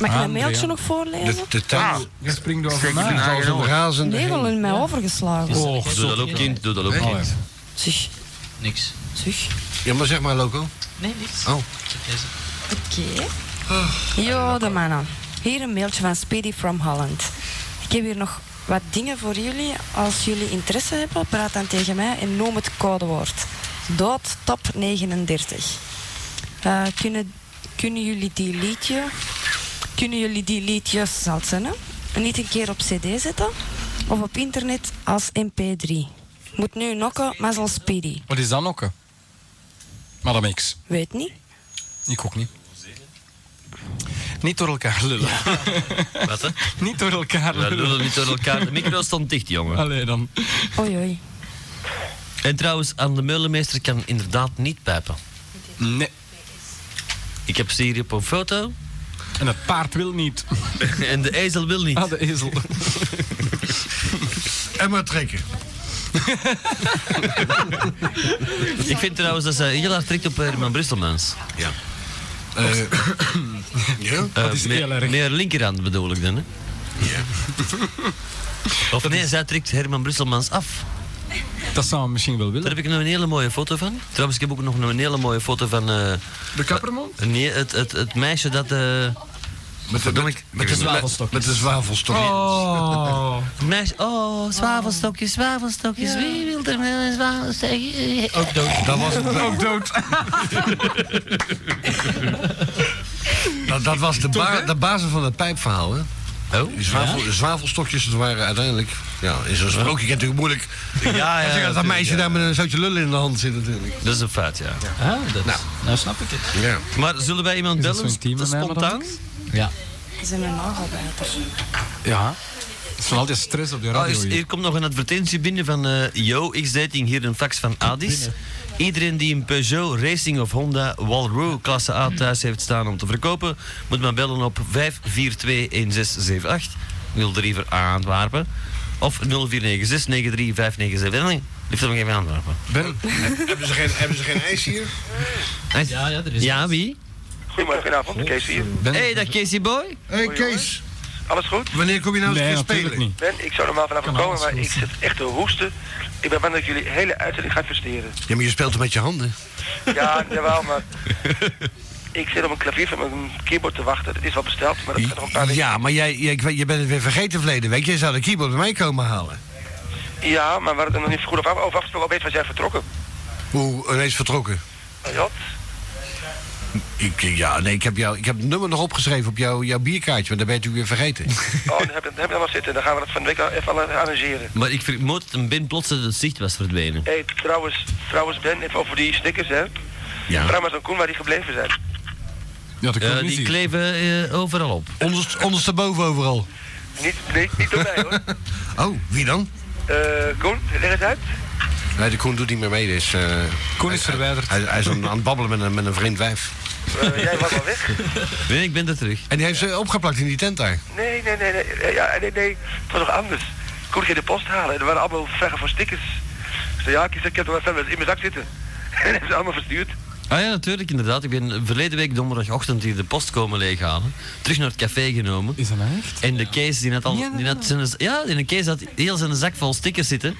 Mag ik
Ah,
dat mailtje
Andrea.
nog voorlezen?
De, de
Ah,
tuin
Je springt door
de
mij.
tuin is een razende.
Nee, wel in mij overgeslagen.
Oh,
Doe dat ook kind, doe dat ook
Nee.
kind.
Zeg,
Niks.
zeg.
Ja, maar zeg maar, Loco.
Nee, niks.
Oh.
Oké. Jo, de mannen. Hier een mailtje van Speedy from Holland. Ik heb hier nog wat dingen voor jullie. Als jullie interesse hebben, praat dan tegen mij en noem het codewoord. Dood top 39. Eh, kunnen, kunnen jullie die liedje... Kunnen jullie die liedjes, zal het zijn, hè? Niet een keer op cd zetten? Of op internet als mp3? Moet nu nokken, maar zal speedy.
Wat is dat nokken? Madame X.
Weet niet.
Ik ook niet. Niet door elkaar lullen.
Wat hè?
niet door elkaar
We
lullen.
lullen niet door elkaar. De micro stond dicht, jongen.
Allee dan.
Oei, oei.
En trouwens, aan de meulenmeester kan inderdaad niet pijpen.
Nee.
Ik heb ze hier op een foto.
En het paard wil niet.
en de ezel wil niet.
Ah, de ezel.
En maar trekken.
Ik vind trouwens dat ze heel hard trekt op Herman Brusselmans.
Ah,
Ja. Eh, ja?
Eh,
Dat is
meer,
heel erg.
meer linkerhand bedoel ik dan, hè?
Ja.
Of nee, zij trekt Herman Brusselmans af.
Dat zou hem misschien wel willen.
Daar heb ik nog een hele mooie foto van. Trouwens, ik heb ook nog een hele mooie foto van... eh,
De kapperman?
nee, het, het, het meisje dat... eh,
Met de, met, met de zwavelstok. Met de zwavelstok.
Oh.
het meisje... Oh, zwavelstokjes, zwavelstokjes. Wie wil er wel een zwavelstokje?
Ook dood.
Dat, was,
Ook dood.
Nou, dat, dat was de, ba- de basis van het pijpverhaal, hè?
Oh,
Die zwavel, de zwavelstokjes dat waren uiteindelijk... Ja, in zo'n sprookje kent natuurlijk moeilijk.
Ja,
Als je
ja.
dat dat meisje daar met een zoutje lullen in de hand zit natuurlijk.
Dat is een feit, ja.
Ah, dat, nou. snap ik het.
Ja.
Maar zullen wij iemand
Is dat
bellen?
zo'n team eh,
Sp-
met mij,
Spontaan?
Ja.
Ze zijn een nagelbijter.
Ja. Het is wel altijd stress op de
Oh,
radio
is-
hier.
hier komt nog een advertentie binnen van eh Yo X-Dating, hier een fax van Adis. Iedereen die een Peugeot, Racing of Honda Walroo klasse A thuis heeft staan om te verkopen, moet maar bellen op 542-1678, 03 voor Antwerpen, of 0496-935971. Liefst nog even Antwerpen.
Ben,
Hebben, ze geen, hebben ze geen ijs hier?
Ja, ja, er is
Ja, wie?
Goedemorgenavond, Kees hier.
ben,
hey, dat Casey Boy?
Hé, hey, Kees.
Alles goed?
Wanneer kom je nou eens
nee,
een keer
natuurlijk
spelen?
niet.
Ben, ik zou normaal vanavond
Kan
komen, maar
alles
ik zit echt te hoesten. Ik ben bang dat ik jullie hele uitzending ga versteren.
Ja, maar je speelt het met je handen.
Ja, jawel, maar... Ik zit op een klavier van mijn keyboard te wachten. Het is wel besteld, maar dat gaat nog een paar weken.
Ja, maar jij, jij, ik weet- je bent het weer vergeten verleden week. Jij zou de keyboard bij mij komen halen.
Ja, maar waar het nog niet goed op af, over afgesproken weet, we zijn vertrokken.
Hoe ineens vertrokken?
Ja,
Ik, eh, ja, nee, ik heb, jou, ik heb het nummer nog opgeschreven op jouw jouw bierkaartje, maar dat ben je natuurlijk weer vergeten.
oh, dan heb ik dan wel zitten. Dan gaan we dat van de week al- even al- arrangeren.
Maar ik vermoed dat een bin plots uit het zicht was verdwenen.
Hé, hey, trouwens, trouwens Ben, even over die stickers, hè.
ja.
Ramas en Koen, waar die gebleven zijn.
Ja, dat
Eh,
kan niet
die
zien.
kleven eh, overal op.
Onderst, ondersteboven overal.
Niet, nee, niet door mij, hoor.
Oh, wie dan?
Eh Koen, leg eens uit.
Nee, de Koen doet niet meer mee. Dus, eh,
Koen is
hij-
verwijderd.
Hij, hij is aan, aan het babbelen met een, met een vreemd wijf.
Eh, jij was al weg.
Nee, ik ben er terug.
En die heeft ze opgeplakt in die tent daar.
Nee, nee, nee, nee. Eh, Ja, nee, nee. Het was nog anders. Ik kon geen de post halen. Er waren allemaal vragen voor stickers. Ik zei, ja, ik, zei, ik heb er wel zelf in mijn zak zitten. En hebben ze allemaal verstuurd.
Ah ja, natuurlijk, inderdaad. Ik ben verleden week donderdagochtend hier de post komen leeghalen. Terug naar het café genomen.
Is dat nou echt?
En de Kees die had al... Die had zijn, ja, in de Kees had heel zijn zak vol stickers zitten.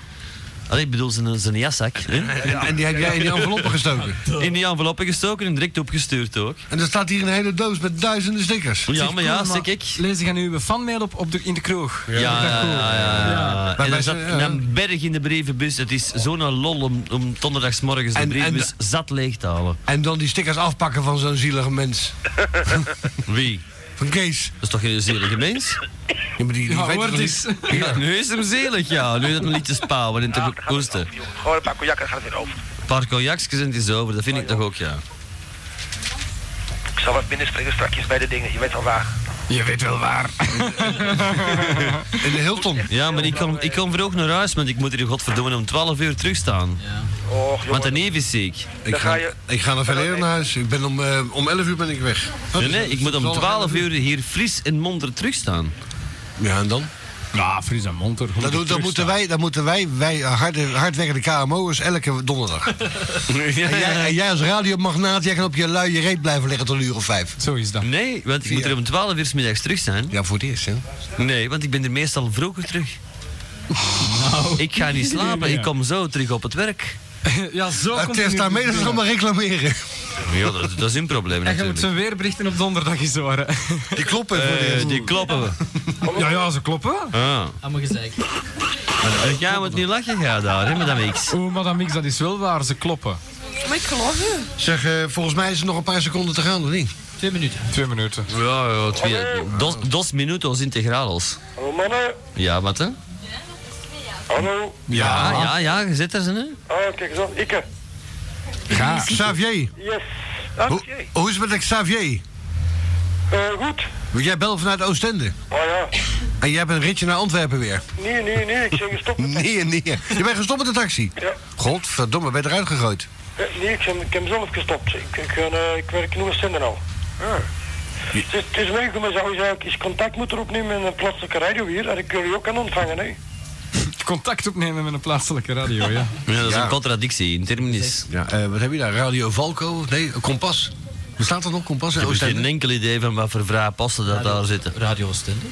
Allee, ik bedoel zijn, zijn jaszak. Hè?
En, en die heb jij in die enveloppen gestoken.
In die enveloppen gestoken en direct opgestuurd ook.
En er staat hier een hele doos met duizenden stickers.
Ja,
Zeg,
maar ja,
Koen,
zeg ik.
Lees je gaan nu uw fanmail op, op de, in de kroeg.
Ja, ja, ja. ja, ja.
Maar
En
wij
er zat
zijn, ja.
een berg in de brievenbus. Het is zo'n lol om, om donderdagsmorgens de
En-
brievenbus zat leeg te halen.
En dan die stickers afpakken van zo'n zielige mens.
Wie?
Van Kees.
Dat is toch geen zielige mens?
Ja, maar die, die
Ja,
weet
hoor,
toch
het is.
niet-
Ja, nu is hem zelig, ja. Nu dat een liedje spouwen en
Ah,
te
daar gaat het
koesten.
over, jongen. Gewoon een paar kojakken, daar gaat het weer over.
Een paar cognacjes en het is over. Dat vind ik toch ook, ja.
Ik zal wat binnen springen strakjes bij de dingen. Je weet al waar.
Je weet wel waar.
In de Hilton.
Ja, maar ik kom, ik kom vroeg naar huis, want ik moet hier godverdomme om 12 uur terugstaan.
Och,
Want de
jongen.
neef is ziek.
Ik
Dan
ga,
ga je-
ik ga naar Veleren naar huis. Ik ben om, eh, om 11 uur ben ik weg. Oh,
Nee,
dus
nee,
dat
ik
is
moet om
wel
12
11
uur hier fris en monter terugstaan.
Ja, en dan?
Ja, Fries en Monter.
Dat, doen- dat moeten wij, dat moeten wij, wij harde, hardwerkende KMO'ers elke donderdag. En jij, en jij als radiomagnaat, jij kan op je luie reet blijven liggen tot een uur of vijf.
Zo is dat.
Nee, want ik moet er om 12 uur 's middags terug zijn.
Ja, voor het eerst, hè?
Nee, want ik ben er meestal vroeger terug.
Nou.
Ik ga niet slapen, ik kom zo terug op het werk.
ja, zo
Het is daarmee dat ze allemaal reclameren.
Ja, dat, dat is hun probleem
En je moet
natuurlijk.
zijn weerberichten op donderdag eens horen.
Die kloppen voor de
Eh,
eerst.
die kloppen we.
ja, ja, ze kloppen.
Ah.
Allemaal gezegd.
Jij moet niet lachen, ja, daar, hè, Madame X.
Oeh, Madame X, dat is wel waar. Ze kloppen.
Maar ik geloof je.
Zeg, eh, volgens mij is er nog een paar seconden te gaan, of niet?
Twee minuten.
Twee minuten.
Ja, ja, twee. Dos, dos minutos integrales.
Hallo mannen.
Ja, wat hè?
Hallo.
Ja, ja, ja, je zit er, ze, hè?
Ah, kijk eens aan. Ikke.
Ga.
Xavier,
Yes. Ah,
hoe,
oké.
hoe is het met Xavier?
Eh, goed.
Want jij belt vanuit Oostende.
Ah ja.
En jij hebt een ritje naar Antwerpen weer.
Nee, nee, nee. Ik zeg gestopt.
Nee, nee. Je bent gestopt met de taxi.
Ja.
Godverdomme, ben je eruit gegooid.
Eh, Nee, ik, ben- ik heb zelf gestopt. Ik, ik, ben, eh, ik werk nu in Senderal. Ja. Het is- het is leuk, maar zou je eigenlijk eens contact moeten opnemen met een plaatselijke radio hier. En ik wil je ook aan ontvangen, hè.
Contact opnemen met een plaatselijke radio, ja.
Ja, dat is
Ja.
een contradictie in terminis.
Ja, eh, wat heb je daar? Radio Valko? Nee, Kompas. Bestaat dat nog, Kompas
Ik
in
heb geen
Oostende?
enkel idee van wat voor vraag passen dat daar zitten.
Radio Oostende.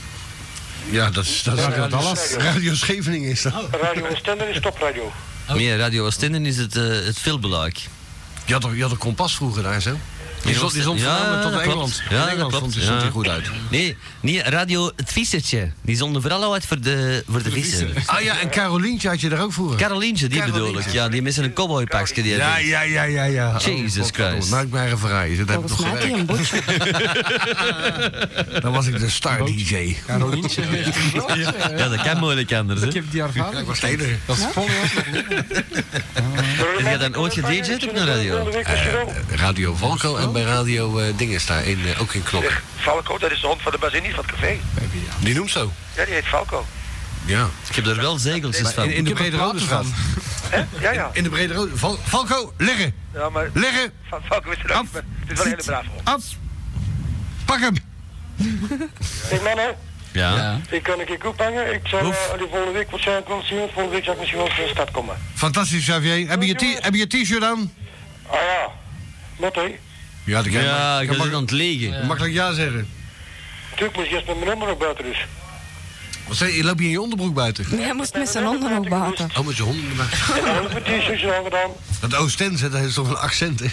Ja, dat is... Dat is
Radio Dallas.
Radio Scheveningen is dat.
Oh.
Radio Stender is topradio.
Nee, Radio Oostende is het, eh, het filmbeluik.
Je had, toch- je had een kompas vroeger daar, zo? Die stond, die stond
Ja,
voornamelijk tot
dat
in Engeland.
klopt.
In
Ja, dat
Engeland
klopt,
stond, die- stond
ja.
die goed uit.
Nee, nee, Radio Het Vissertje. Die zonden vooral uit voor de, voor de vissen.
Ah ja, en Carolientje had je daar ook vroeger.
Carolientje, die
Carolientje.
bedoel ik. Ja, die mensen een cowboypakje. Die
ja,
hebben.
ja, ja, ja, ja.
Jesus
Oh, godverdomme.
Christ.
Nou, ik ben even verrijzen. Dat heb ik
Volgens
nog
mij heb je
gewerkt.
een botje.
Dan was ik de star DJ.
Carolientje.
ja, dat kan moeilijk anders. Hè.
Ik heb die ervaring.
was de enige.
Dat is vol, ja.
Heb jij dan ooit gedj'd op de radio?
eh, Radio Valko en bij Radio eh Dinges daar, in, eh, ook in Knokken.
Falco, dat is de hond van de bazinier van het café.
Die noemt zo.
Ja, die heet Falco.
Ja.
Ik heb daar wel zegeltjes van.
In, in de
Ik heb
Brede
er
Rode
platen van.
Straat.
Hè? Ja, ja.
In de Brede Rode... Val- Valko, liggen!
Ja, maar
Liggen!
Fa- Falco is er ook niet, maar het is wel een hele brave hond.
Af! Pak hem!
Zeg mannen,
Ja.
ik kan een keer ophangen. Ik zal
Hoef.
eh, die volgende week waarschijnlijk wel zien. Volgende week zal ik misschien wel eens in de stad komen.
Fantastisch, Xavier. Heb je je t- heb je je t-shirt aan?
Ah ja. Wat hè?
Ja, dat kan
Ja,
maar-
ik
kan
was aan het legen.
mag- makkelijk ja zeggen.
Natuurlijk moet ik eerst met mijn nummer naar buiten dus.
Wat zei je? Loop je in je onderbroek buiten?
Nee, hij moest met zijn handen nog baten.
Oh, met je honden erbij.
En dan heb ik mijn t-shirts al gedaan.
Dat Oostense, dat is toch een accent, hè?